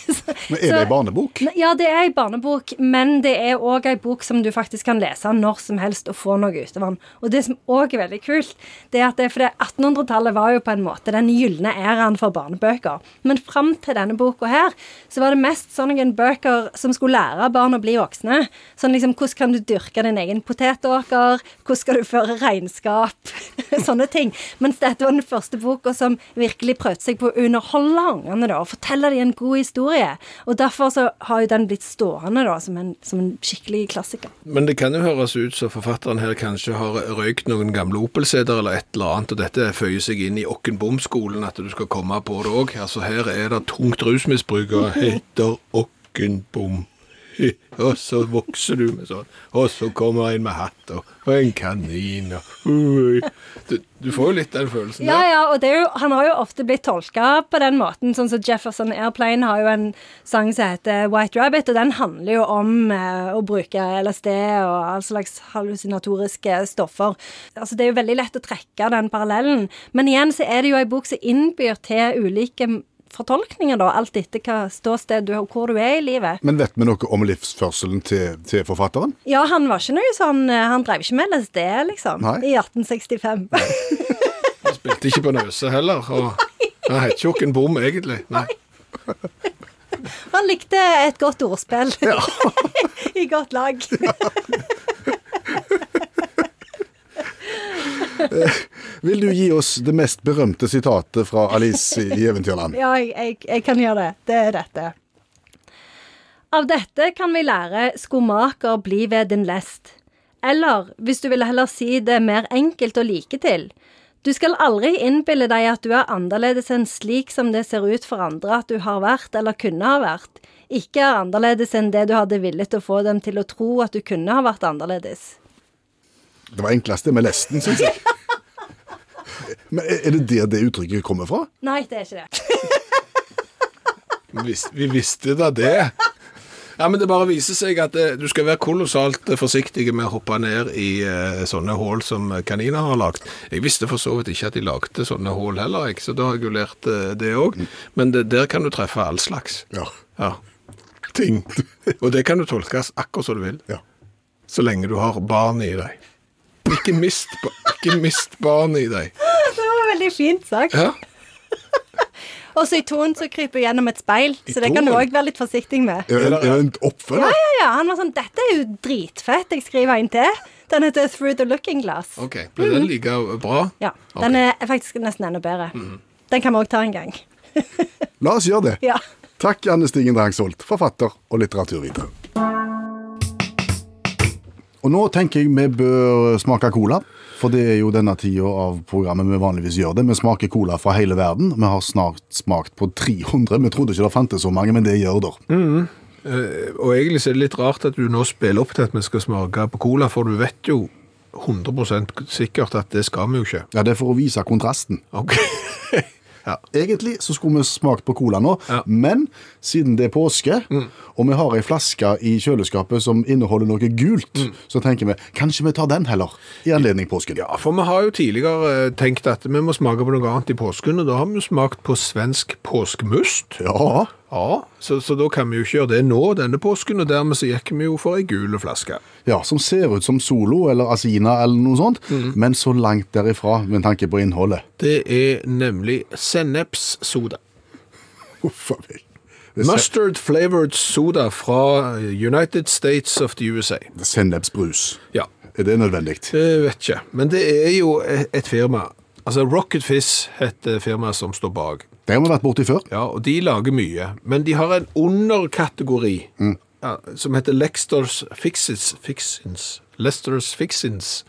S1: [LAUGHS]
S2: Men Er det en barnebok?
S1: Ne- Ja, det er ei barnebok, men det er òg ei bok som du faktisk kan lese når som helst og få noe ut av den. Og det som òg er veldig kult, det er at det, for det 1800-tallet var jo på en måte den gylne æraen for barnebøker. Men fram til denne boka her, så var det mest sånne bøker som skulle lære barn å bli voksne. Sånn liksom hvordan kan du dyrke din egen potetåker, hvordan skal du føre regnskap, [LAUGHS] sånne ting. Mens dette var den første boka som virkelig prøvde seg på å underholde ungene da, og fortelle dem en god historie. Og derfor så har jo den blitt stående da, som en, som en skikkelig klassiker.
S3: Men det kan jo høres ut som forfatteren her kanskje har røykt noen gamle Opel-seter eller et eller annet, og dette føyer seg inn i Okkenbom-skolen, at du skal komme på det òg. Altså, her er det tungt rusmisbruk og heter Okkenbom. Og så vokser du med sånn, og så kommer en med hatt og, og en kanin og ui. du, du får jo litt den følelsen
S1: Ja, ja, og det er jo, han har jo ofte blitt tolka på den måten. Sånn som Jefferson Airplane har jo en sang som heter White Rabbit, og den handler jo om eh, å bruke LSD og all slags hallusinatoriske stoffer. Altså, det er jo veldig lett å trekke den parallellen. Men igjen så er det jo ei bok som innbyr til ulike fortolkninger, da, alt etter hva ståsted du har, hvor du er i livet.
S2: Men vet vi noe om livsførselen til, til forfatteren?
S1: Ja, han var ikke noe sånn eh, Han drev ikke med LSD, liksom,
S2: Nei.
S1: i 1865.
S3: der. Spilte ikke på nøse heller. Og, han heter ikke Okkenbom egentlig. Nei.
S1: Han likte et godt ordspill. [LAUGHS] I godt lag.
S2: Vil du gi oss det mest berømte sitatet fra Alice i i Eventyrland?
S1: Ja, jeg, jeg, jeg kan gjøre det. Det er dette. Av dette kan vi lære skomaker bli ved din lest. Eller, hvis du ville heller si det mer enkelt og like til, du skal aldri innbille deg at du er annerledes enn slik som det ser ut for andre at du har vært eller kunne ha vært, ikke er annerledes enn det du hadde villet å få dem til å tro at du kunne ha vært annerledes.
S2: Det var enklest det med lesten, syns
S1: [LAUGHS]
S2: jeg. Men er- er det der det uttrykket kommer fra?
S1: Nei, det er ikke det.
S3: Vi vis- Vi visste da det. Ja, men Det bare viser seg at eh, du skal være kolossalt eh, forsiktig med å hoppe ned i eh, sånne hull som kaniner har lagd. Jeg visste for så vidt ikke at de lagde sånne hull heller, jeg, så da har jeg jo lært eh, det òg. Men det, der kan du treffe all slags.
S2: Ja.
S3: Ja. Ting. Og det kan du tolkes akkurat som du vil,
S2: Ja.
S3: så lenge du har barn i deg. Ikke mist, ba- ikke mist barnet i deg.
S1: Det var veldig fint sagt.
S3: Ja.
S1: Og så i toen så kryper hun gjennom et speil, så det kan du
S3: toen?
S1: òg være litt forsiktig med.
S2: Er det, er det en oppfølger?
S1: Ja, ja, han var sånn Dette er jo dritfett. Jeg skriver en til. Den heter Through the Looking Glass.
S3: OK. Ble den like bra?
S1: Ja, Den er faktisk nesten enda bedre. Den kan vi òg ta en gang.
S2: La oss gjøre det.
S1: Ja.
S2: Takk, Anne Stigen Drangsholt, forfatter og litteraturviter. Og nå tenker jeg vi bør smake cola, for det er jo denne tida av programmet vi vanligvis gjør det. Vi smaker cola fra
S3: Mm.
S2: hele verden. Vi har snart smakt på 300. Vi trodde ikke det fantes så mange, men det gjør det.
S3: Eh, Og egentlig så er det litt rart at du nå spiller opp til at vi skal smake på cola, for du vet jo 100 sikkert at det skal vi jo ikke.
S2: Ja, Det er for å vise kontrasten.
S3: Ok. ja.
S2: Egentlig så skulle vi smakt på cola nå,
S3: Ja. Mm.
S2: men siden det er påske, og vi har ei flaske i kjøleskapet som inneholder noe gult,
S3: Mm.
S2: så tenker vi kanskje vi tar den heller, i anledning påsken.
S3: ja, for vi har jo tidligere eh, tenkt at vi må smake på noe annet i påsken, og da har vi jo smakt på svensk påskmust.
S2: Ja,
S3: Ja, så, så da kan vi jo ikke gjøre det nå denne påsken, og dermed så gikk vi jo for ei gule flaske.
S2: ja, Som ser ut som Solo eller Asina eller noe sånt, men så langt derifra med tanke på innholdet.
S3: Det er nemlig sennepssoda.
S2: Uff a meg. Det er
S3: Mustard flavored soda fra United States of the USA.
S2: sen- Sennepsbrus.
S3: Ja,
S2: Er det nødvendig?
S3: det vet ikke. Men det er jo et et firma. Altså Rocket Fizz heter firmaet som står bak.
S2: Det har vi vært borti før.
S3: Ja, og de lager mye. Men de har en underkategori ja, som heter Lexters Fixins. Fixins. Lester's Fixins.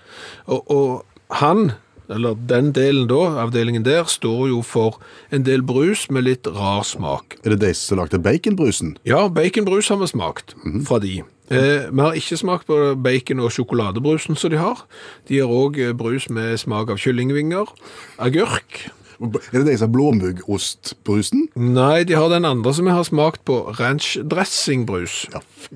S3: Og, og han, eller den delen da, avdelingen der, står jo for en del brus med litt rar smak.
S2: Er det de som lagde baconbrusen?
S3: Ja, baconbrus har vi smakt
S2: Mhm.
S3: fra de. Eh, vi har ikke smakt på bacon- og sjokoladebrusen som de har. De har òg brus med smak av kyllingvinger, agurk
S2: Er det de som har blåmuggostbrusen?
S3: Nei, de har den andre som jeg har smakt på, ranchdressingbrus.
S2: Ja, f-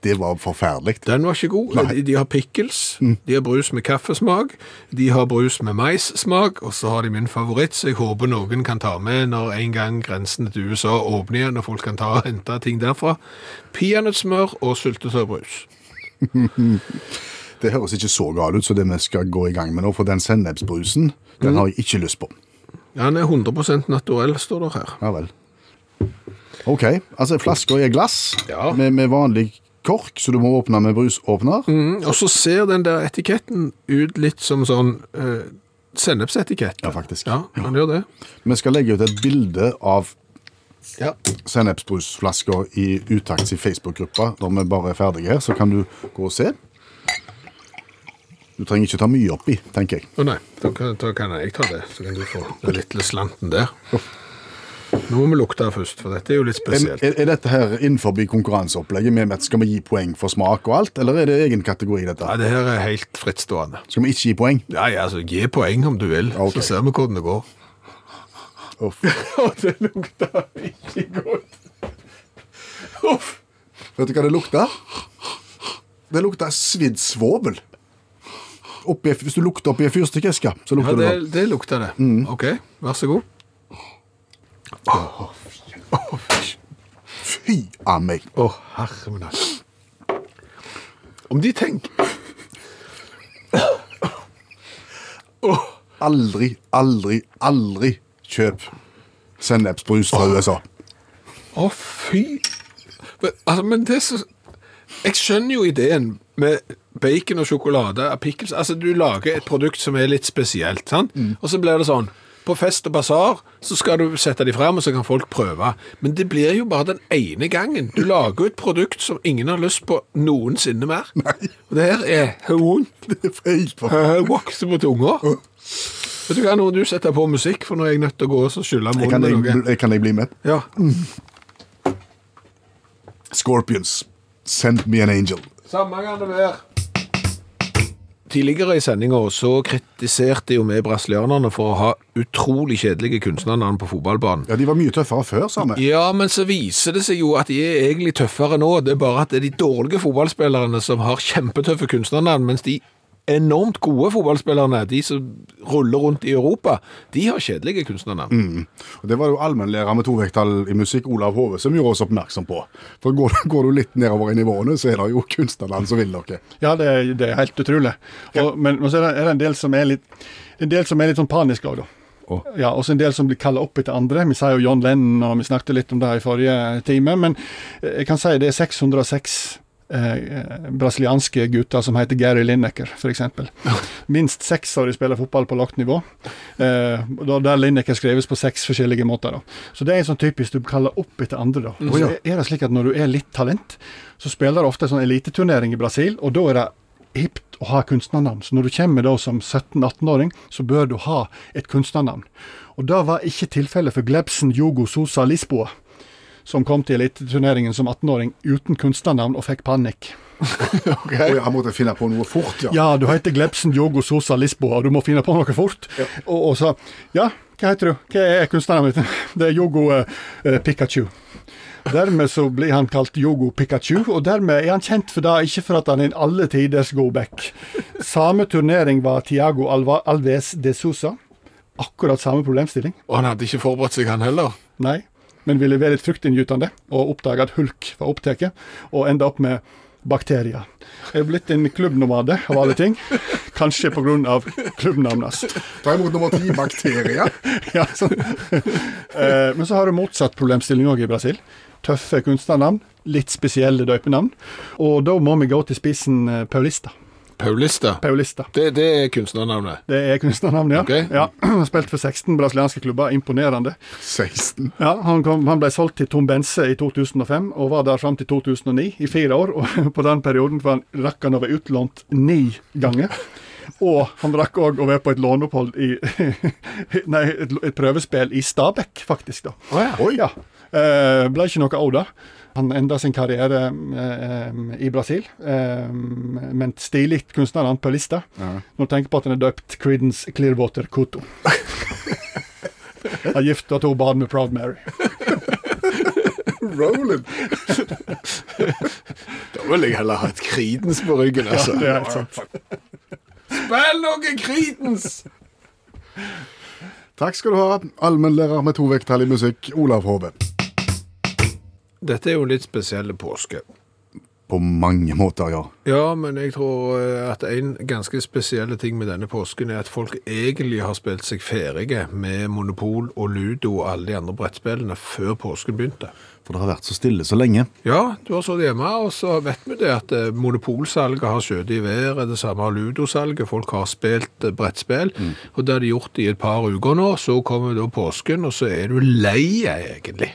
S2: det var forferdelig.
S3: Den var ikke god.
S2: Nei. Mm.
S3: De, de har pickles, de har brus med kaffesmak, de har brus med maissmak, og så har de min favoritt, så jeg håper noen kan ta med når en gang grensen til USA åpner igjen, og folk kan ta og hente ting derfra. Peanøttsmør og syltetøybrus.
S2: Det høres ikke så galt ut som det vi skal gå i gang med nå, for den sennepsbrusen den har jeg ikke lyst på.
S3: Ja, Han er 100 naturell, står det her.
S2: Ja vel. OK. Altså, flasker er glass
S3: Ja.
S2: med, med vanlig kork, så du må åpne med brusåpner.
S3: Mm, og så ser den der etiketten ut litt som sånn eh, sennepsetikett.
S2: Ja, faktisk.
S3: Ja, han gjør det.
S2: Vi skal legge ut et bilde av
S3: Ja.
S2: sennepsbrusflasker i Utakts i Facebook-gruppa når vi bare er ferdige her, så kan du gå og se. Du trenger ikke ta mye oppi, tenker jeg.
S3: Å nei, da kan, da kan jeg ta det. Så kan du få den lille slanten der. Nå må vi lukte først, for dette er jo litt
S2: Er,
S3: spesielt.
S2: er er dette her innenfor konkurranseopplegget? med at Skal vi gi poeng for smak og alt, eller er det egen kategori?
S3: Ja,
S2: dette?
S3: det her er helt frittstående.
S2: Skal vi ikke gi poeng?
S3: Ja, ja, altså, gi poeng om du vil,
S2: Ok.
S3: så ser vi hvordan det går.
S2: Uff.
S3: Å, det lukta ikke godt. Uff.
S2: Vet du hva det lukter? Det lukter svidd svovel. Oppi, hvis du lukter oppi en fyrstikkeske, så
S3: Ja,
S2: lukter
S3: det,
S2: det sånn.
S3: det lukter det. Ok, vær så god.
S2: Fy a meg.
S3: Å, herre min hatt. Om de tenker
S2: Aldri, aldri, aldri kjøp sennepsbrus fra USA.
S3: Å, fy men, altså, men det er så Jeg skjønner jo ideen med bacon og sjokolade av pickles. Altså, du lager et produkt som er litt spesielt, sant? Og så blir det sånn På fest og basar så skal du sette de frem, og så kan folk prøve. Men det blir jo bare den ene gangen. Du lager jo et produkt som ingen har lyst på noensinne mer. Og det her er vondt.
S2: Det
S3: [LAUGHS]
S2: er feil. for-
S3: Jeg vokser på tunga. Vet du hva, nå må du setter på musikk, for nå er jeg nødt til å gå og så skylle
S2: Jeg kan,
S3: munnen
S2: jeg,
S3: med noe.
S2: bl- kan jeg bli med?
S3: Ja.
S2: Scorpions, send me an angel.
S3: Samme kan det være. Tidligere i sendinga så kritiserte jo vi brasilianerne for å ha utrolig kjedelige kunstnernavn på fotballbanen.
S2: Ja, De var mye tøffere før, sa vi.
S3: Ja, men så viser det seg jo at de er egentlig tøffere nå. Det er bare at det er de dårlige fotballspillerne som har kjempetøffe kunstnernavn, mens de enormt gode fotballspillerne, de som ruller rundt i Europa, de har kjedelige kunstnernavn.
S2: Og Det var jo allmennlærer med tovekttall i musikk, Olav Hove, som gjorde oss oppmerksom på. For går, [LAUGHS] du- går du litt nedover i nivåene, så er det jo kunstnerland som vil noe.
S5: Ja, det er, det er helt utrolig. Og, men men så er det, er det en del som er litt en del som er litt sånn panisk òg, da. Ja, og så en del som blir kalla opp etter andre. Vi sier jo John Lennon, og vi snakket litt om det i forrige time. Men eh, jeg kan si det er 606 eh, eh, brasilianske gutter som heter Gary Lineker, f.eks. Minst seks av de spiller fotball på lavt nivå. Eh, og da- der Lineker skrives på seks forskjellige måter. da. Så det er en sånn typisk du kaller opp etter andre. da. Og så er- er det slik at når du er litt talent, så spiller du ofte en sånn eliteturnering i Brasil, og da er det hipt å ha kunstnernavn. Så når du kommer da som 17-18-åring, så bør du ha et kunstnernavn. Og det var ikke tilfellet for Glebsen Jogo Sosa Lisboa, som kom til eliteturneringen som 18-åring uten kunstnernavn og fikk panikk.
S2: Oi, han måtte finne på noe fort, ja.
S5: Ja, du heter Glebsen Diogo Sosa Lisboa, og du må finne på noe fort. Og, og sa ja, hva heter du? Hva er kunstnernavnet ditt? [LAUGHS] Det er Yogo eh, eh, Pikachu. Dermed så blir han kalt Yogo Pikachu, og dermed er han kjent for det, ikke for at han er en alle tiders go back. Samme turnering var Tiago Alva Alves de Sosa. Akkurat samme problemstilling.
S3: Og han hadde ikke forberedt seg, han heller.
S5: Nei, men ville være litt fruktinngytende, og oppdaga at hulk var opptatt, og enda opp med bakterier. Jeg er blitt en klubbnomade av alle ting. Kanskje pga. klubbnavnet hans.
S2: Ta imot nummer ti, bakterier.
S5: Ja, [LAUGHS] sånn. Eh, Men så har du motsatt problemstilling òg i Brasil. Tøffe kunstnernavn, litt spesielle døypenavn. Og da må vi gå til spissen eh, Paulista.
S3: Paulista.
S5: Paulista.
S3: Det, det er kunstnernavnet.
S5: Det er kunstnernavnet, ja.
S3: Ok.
S5: ja. [CLEARS THROAT] Spilt for 16 brasilianske klubber, imponerende.
S2: 16.
S5: Ja, han, kom, han ble solgt til Tom Bense i 2005, og var der fram til 2009, i fire år. Og [LAUGHS] på den perioden var han, rakk han å være utlånt ni ganger. Og han rakk òg å være på et låneopphold i [LAUGHS] Nei, et, et prøvespill i Stabekk, faktisk, da.
S2: Oi.
S5: Ja. Eh, ble ikke noe av det. Han enda sin karriere eh, i Brasil, eh, men stilig kunstner han på lista. Når du tenker på at han er døpt Creedence Clearwater Koto. Han gifta to barn med Proud Mary.
S2: Roland.
S3: [LAUGHS] Da vil jeg heller ha et Creedence på ryggen, altså.
S5: Det er helt sant.
S3: Spill noe Creedence!
S2: Takk skal du ha, allmennlærer med to vekttall i musikk, Olav Hove.
S3: Dette er jo en litt spesiell påske.
S2: På mange måter, ja.
S3: Ja, men jeg tror eh, at en ganske spesiell ting med denne påsken er at folk egentlig har spilt seg ferdige med Monopol og Ludo og alle de andre brettspillene før påsken begynte.
S2: For det har vært så stille så lenge.
S3: Ja, du har sittet hjemme, og så vet vi det at eh, monopolsalget har skjøtet i været. Det samme har ludosalget. Folk har spilt eh, brettspill. Og det har de gjort i et par uker nå. Så kommer da påsken, og så er du lei, egentlig.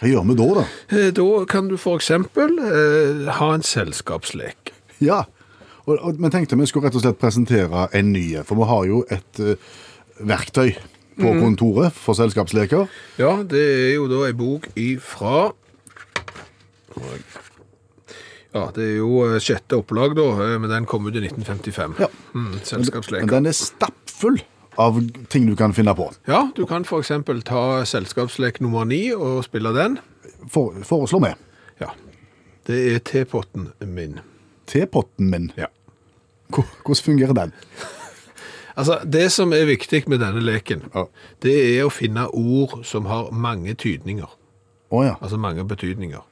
S2: Hva gjør vi da, da?
S3: Eh, Da kan du f.eks. Eh, ha en selskapslek.
S2: [LAUGHS] Ja. Og, og, men tenkte vi skulle rett og slett presentere en ny, for vi har jo et eh, verktøy på
S3: Mhm.
S2: kontoret for selskapsleker.
S3: Ja, det er jo da ei bok ifra Ja, det er jo eh, sjette opplag, da, eh, men den kom ut i 1955.
S2: Ja.
S3: Mm,
S2: Men
S3: selskapsleker.
S2: den er stappfull av ting du kan finne på.
S3: Ja, du kan f.eks. ta selskapslek nummer ni og spille den.
S2: For, foreslår vi.
S3: Ja. Det er tepotten min.
S2: Tepotten min.
S3: Ja.
S2: Hvor- Hvordan fungerer den?
S3: Altså, Det som er viktig med denne leken,
S2: Ja.
S3: det er å finne ord som har mange tydninger.
S2: Å ja.
S3: Altså mange betydninger.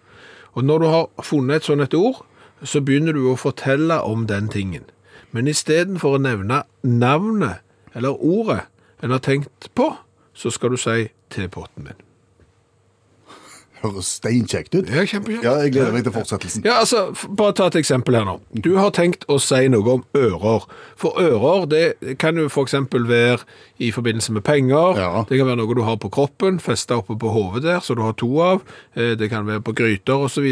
S3: Og når du har funnet et sånt et ord, så begynner du å fortelle om den tingen. Men istedenfor å nevne navnet eller ordet en har tenkt på, så skal du si tepotten min.
S2: Høres steinkjekt ut.
S3: Det er kjempekjekt.
S2: Ja, jeg gleder meg til fortsettelsen.
S3: Ja, altså, f- Bare ta et eksempel her nå. Du har tenkt å si noe om ører. For ører det kan jo f.eks. være i forbindelse med penger.
S2: Ja.
S3: Det kan være noe du har på kroppen, festa oppe på hodet der, så du har to av. Eh, Det kan være på gryter osv.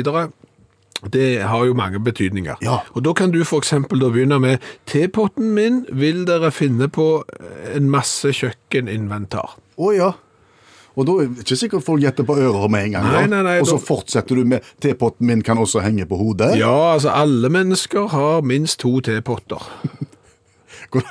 S3: Det har jo mange betydninger.
S2: Ja.
S3: Og Da kan du f.eks. da begynne med Tepotten min vil dere finne på eh, en masse kjøkkeninventar.
S2: Å ja. Og da er det ikke sikkert folk gjetter på ører med en gang. da.
S3: Nei, nei, nei,
S2: og så
S3: da-
S2: fortsetter du med tepotten min kan også henge på hodet.
S3: Ja, altså, alle mennesker har minst to tepotter.
S2: Hvor-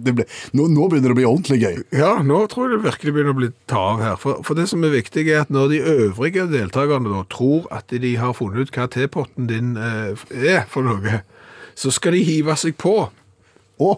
S2: Det ble... nå, nå begynner det å bli ordentlig gøy.
S3: Ja, nå tror jeg det virkelig begynner å bli ta av her. For, for det som er viktig, er at når de øvrige deltakerne da tror at de har funnet ut hva tepotten din eh, er for noe, så skal de hive seg på.
S2: Å,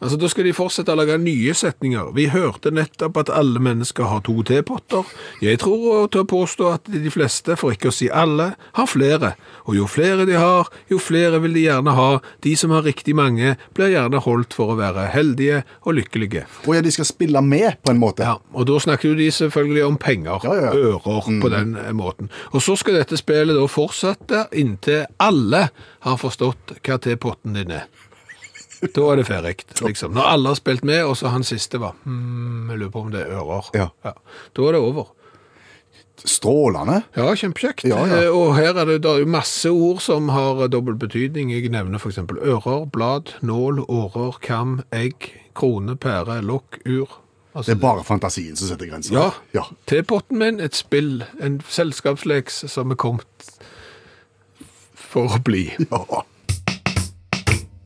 S3: Altså, Da skal de fortsette å lage nye setninger. Vi hørte nettopp at alle mennesker har to tepotter. Jeg tror å tør påstå at de fleste, for ikke å si alle, har flere. Og jo flere de har, jo flere vil de gjerne ha. De som har riktig mange, blir gjerne holdt for å være heldige og lykkelige.
S2: Å ja, de skal spille med, på en måte.
S3: Ja, og da snakker jo de selvfølgelig om
S2: Ja,
S3: penger,
S2: Mm. ja.
S3: ører, på den eh, måten. Og så skal dette spillet da fortsette inntil alle har forstått hva tepotten din er. Da er det ferdig, liksom. Når alle har spilt med, og så han siste var hmm, Jeg lurer på om det er ører.
S2: Ja.
S3: Da er det over.
S2: Strålende.
S3: Ja, kjempekjekt.
S2: Ja, ja.
S3: Eh, Og her er det, det er jo masse ord som har eh, dobbel betydning. Jeg nevner f.eks. ører, blad, nål, årer, kam, egg, krone, pære, lokk, ur. Altså,
S2: Det er bare fantasien som setter grenser.
S3: Ja.
S2: ja.
S3: Tepotten min, et spill, en selskapsleks som er kommet for å bli.
S2: Ja.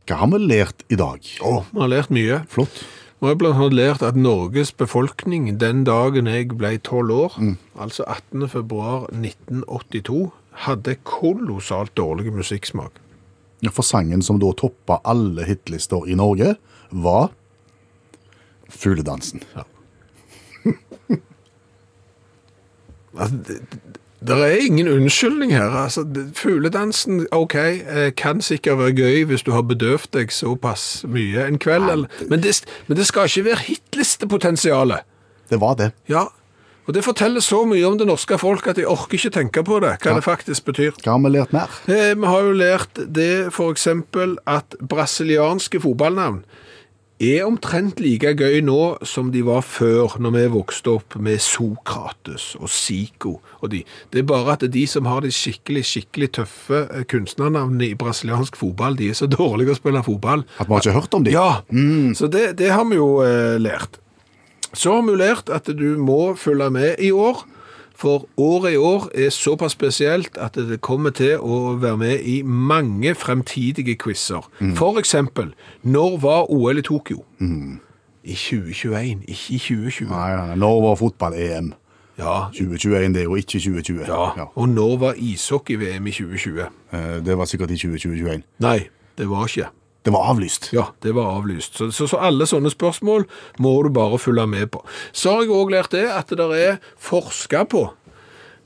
S2: Hva har vi lært i dag? Å,
S3: Vi har lært mye.
S2: flott.
S3: Vi har blant annet lært at Norges befolkning den dagen jeg ble 12 år,
S2: Mm.
S3: altså 18. februar 1982, hadde kolossalt dårlig musikksmak.
S2: For sangen som da toppa alle hitlister i Norge, var Fugledansen.
S3: Altså, det, det- det er ingen unnskyldning her. Altså, det- fugledansen, OK, eh, kan sikkert være gøy hvis du har bedøvd deg såpass mye en kveld, eller, men, det, men det skal ikke være hitlistepotensialet.
S2: Det var det.
S3: Ja, og det forteller så mye om det norske folk at jeg orker ikke tenke på det, hva det faktisk betyr.
S2: Hva har vi lært mer?
S3: Eh, Vi har jo lært det for eksempel at brasilianske fotballnavn er omtrent like gøy nå som de var før når vi vokste opp med Sokrates og Zico og de. Det er bare at de som har de skikkelig, skikkelig tøffe eh, kunstnernavnene i brasiliansk fotball, de er så [LAUGHS] dårlige å spille fotball.
S2: At vi har ikke hørt om Mm. dem?
S3: Ja, så det, det har vi jo eh, lært. Så har vi jo lært at du må følge med i år, for året i år er såpass spesielt at det kommer til å være med i mange fremtidige quizzer. For eksempel, når var OL i Tokyo? I 2021, ikke i 2020.
S2: Nei, nei, nei. Når var fotball-EM?
S3: Ja,
S2: 2021, det er jo ikke 2020.
S3: ja. og når var ishockey-VM i 2020?
S2: Eh, Det var sikkert i 2021.
S3: Nei, det var ikke.
S2: Det var avlyst.
S3: Ja, det var avlyst. Så, så, så alle sånne spørsmål må du bare følge med på. Så har jeg òg lært det at det er forska på.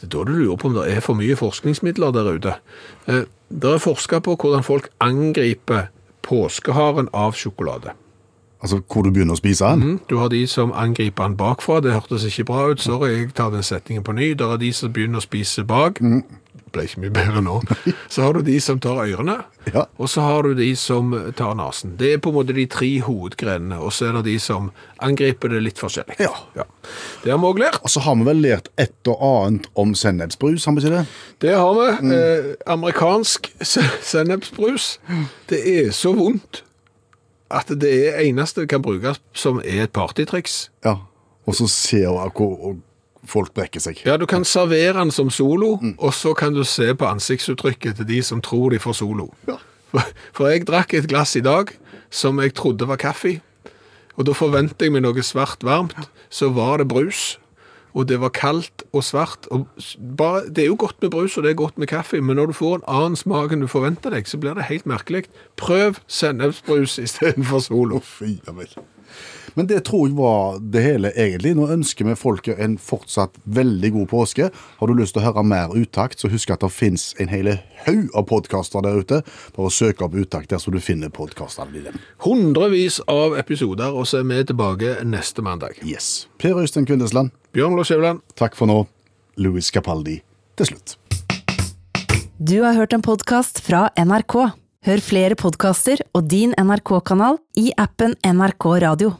S3: Det er da du lurer på om det er for mye forskningsmidler der ute. Eh, Det er forska på hvordan folk angriper påskeharen av sjokolade.
S2: Altså hvor du begynner å spise den?
S3: Du har de som angriper den bakfra, det hørtes ikke bra ut, sorry, jeg tar den setningen på ny. Der er de som begynner å spise bak,
S2: Mm.
S3: ble ikke mye bedre nå. Så har du de som tar ørene,
S2: Ja.
S3: og så har du de som tar nasen. Det er på en måte de tre hovedgrenene, og så er det de som angriper det litt forskjellig.
S2: Ja.
S3: Det har vi også lært.
S2: Og så har vi vel lært et og annet om sennepsbrus, har vi ikke det?
S3: Det har vi.
S2: Mm.
S3: Eh, amerikansk se- sennepsbrus. Det er så vondt at det er eneste kan brukes som er et partytriks.
S2: Ja. Og så ser vi hvor og folk brekker seg.
S3: Ja, du kan servere den som solo,
S2: Mm.
S3: og så kan du se på ansiktsuttrykket til de som tror de får solo. For, for jeg drakk et glass i dag som jeg trodde var kaffe, og da forventer jeg meg noe svart varmt, så var det brus. Og det var kaldt og svart. Og s- bare, det er jo godt med brus, og det er godt med kaffe, men når du får en annen smak enn du forventer deg, så blir det helt merkelig. Prøv sennepsbrus istedenfor solo.
S2: Å, fy ja vel. Men det tror jeg var det hele, egentlig. Nå ønsker vi folket en fortsatt veldig god påske. Har du lyst til å høre mer utakt, så husk at det fins en hel haug av podkaster der ute. Bare søk opp utakt der så du finner podkastene dine.
S3: Hundrevis av episoder, og så er vi tilbake neste mandag.
S2: Yes. Per Øystein Kvindesland,
S3: Bjørn Lars Skjæveland.
S2: takk for nå. Louis Capaldi til slutt.
S7: Du har hørt en podkast fra NRK. Hør flere podkaster og din NRK-kanal i appen NRK Radio.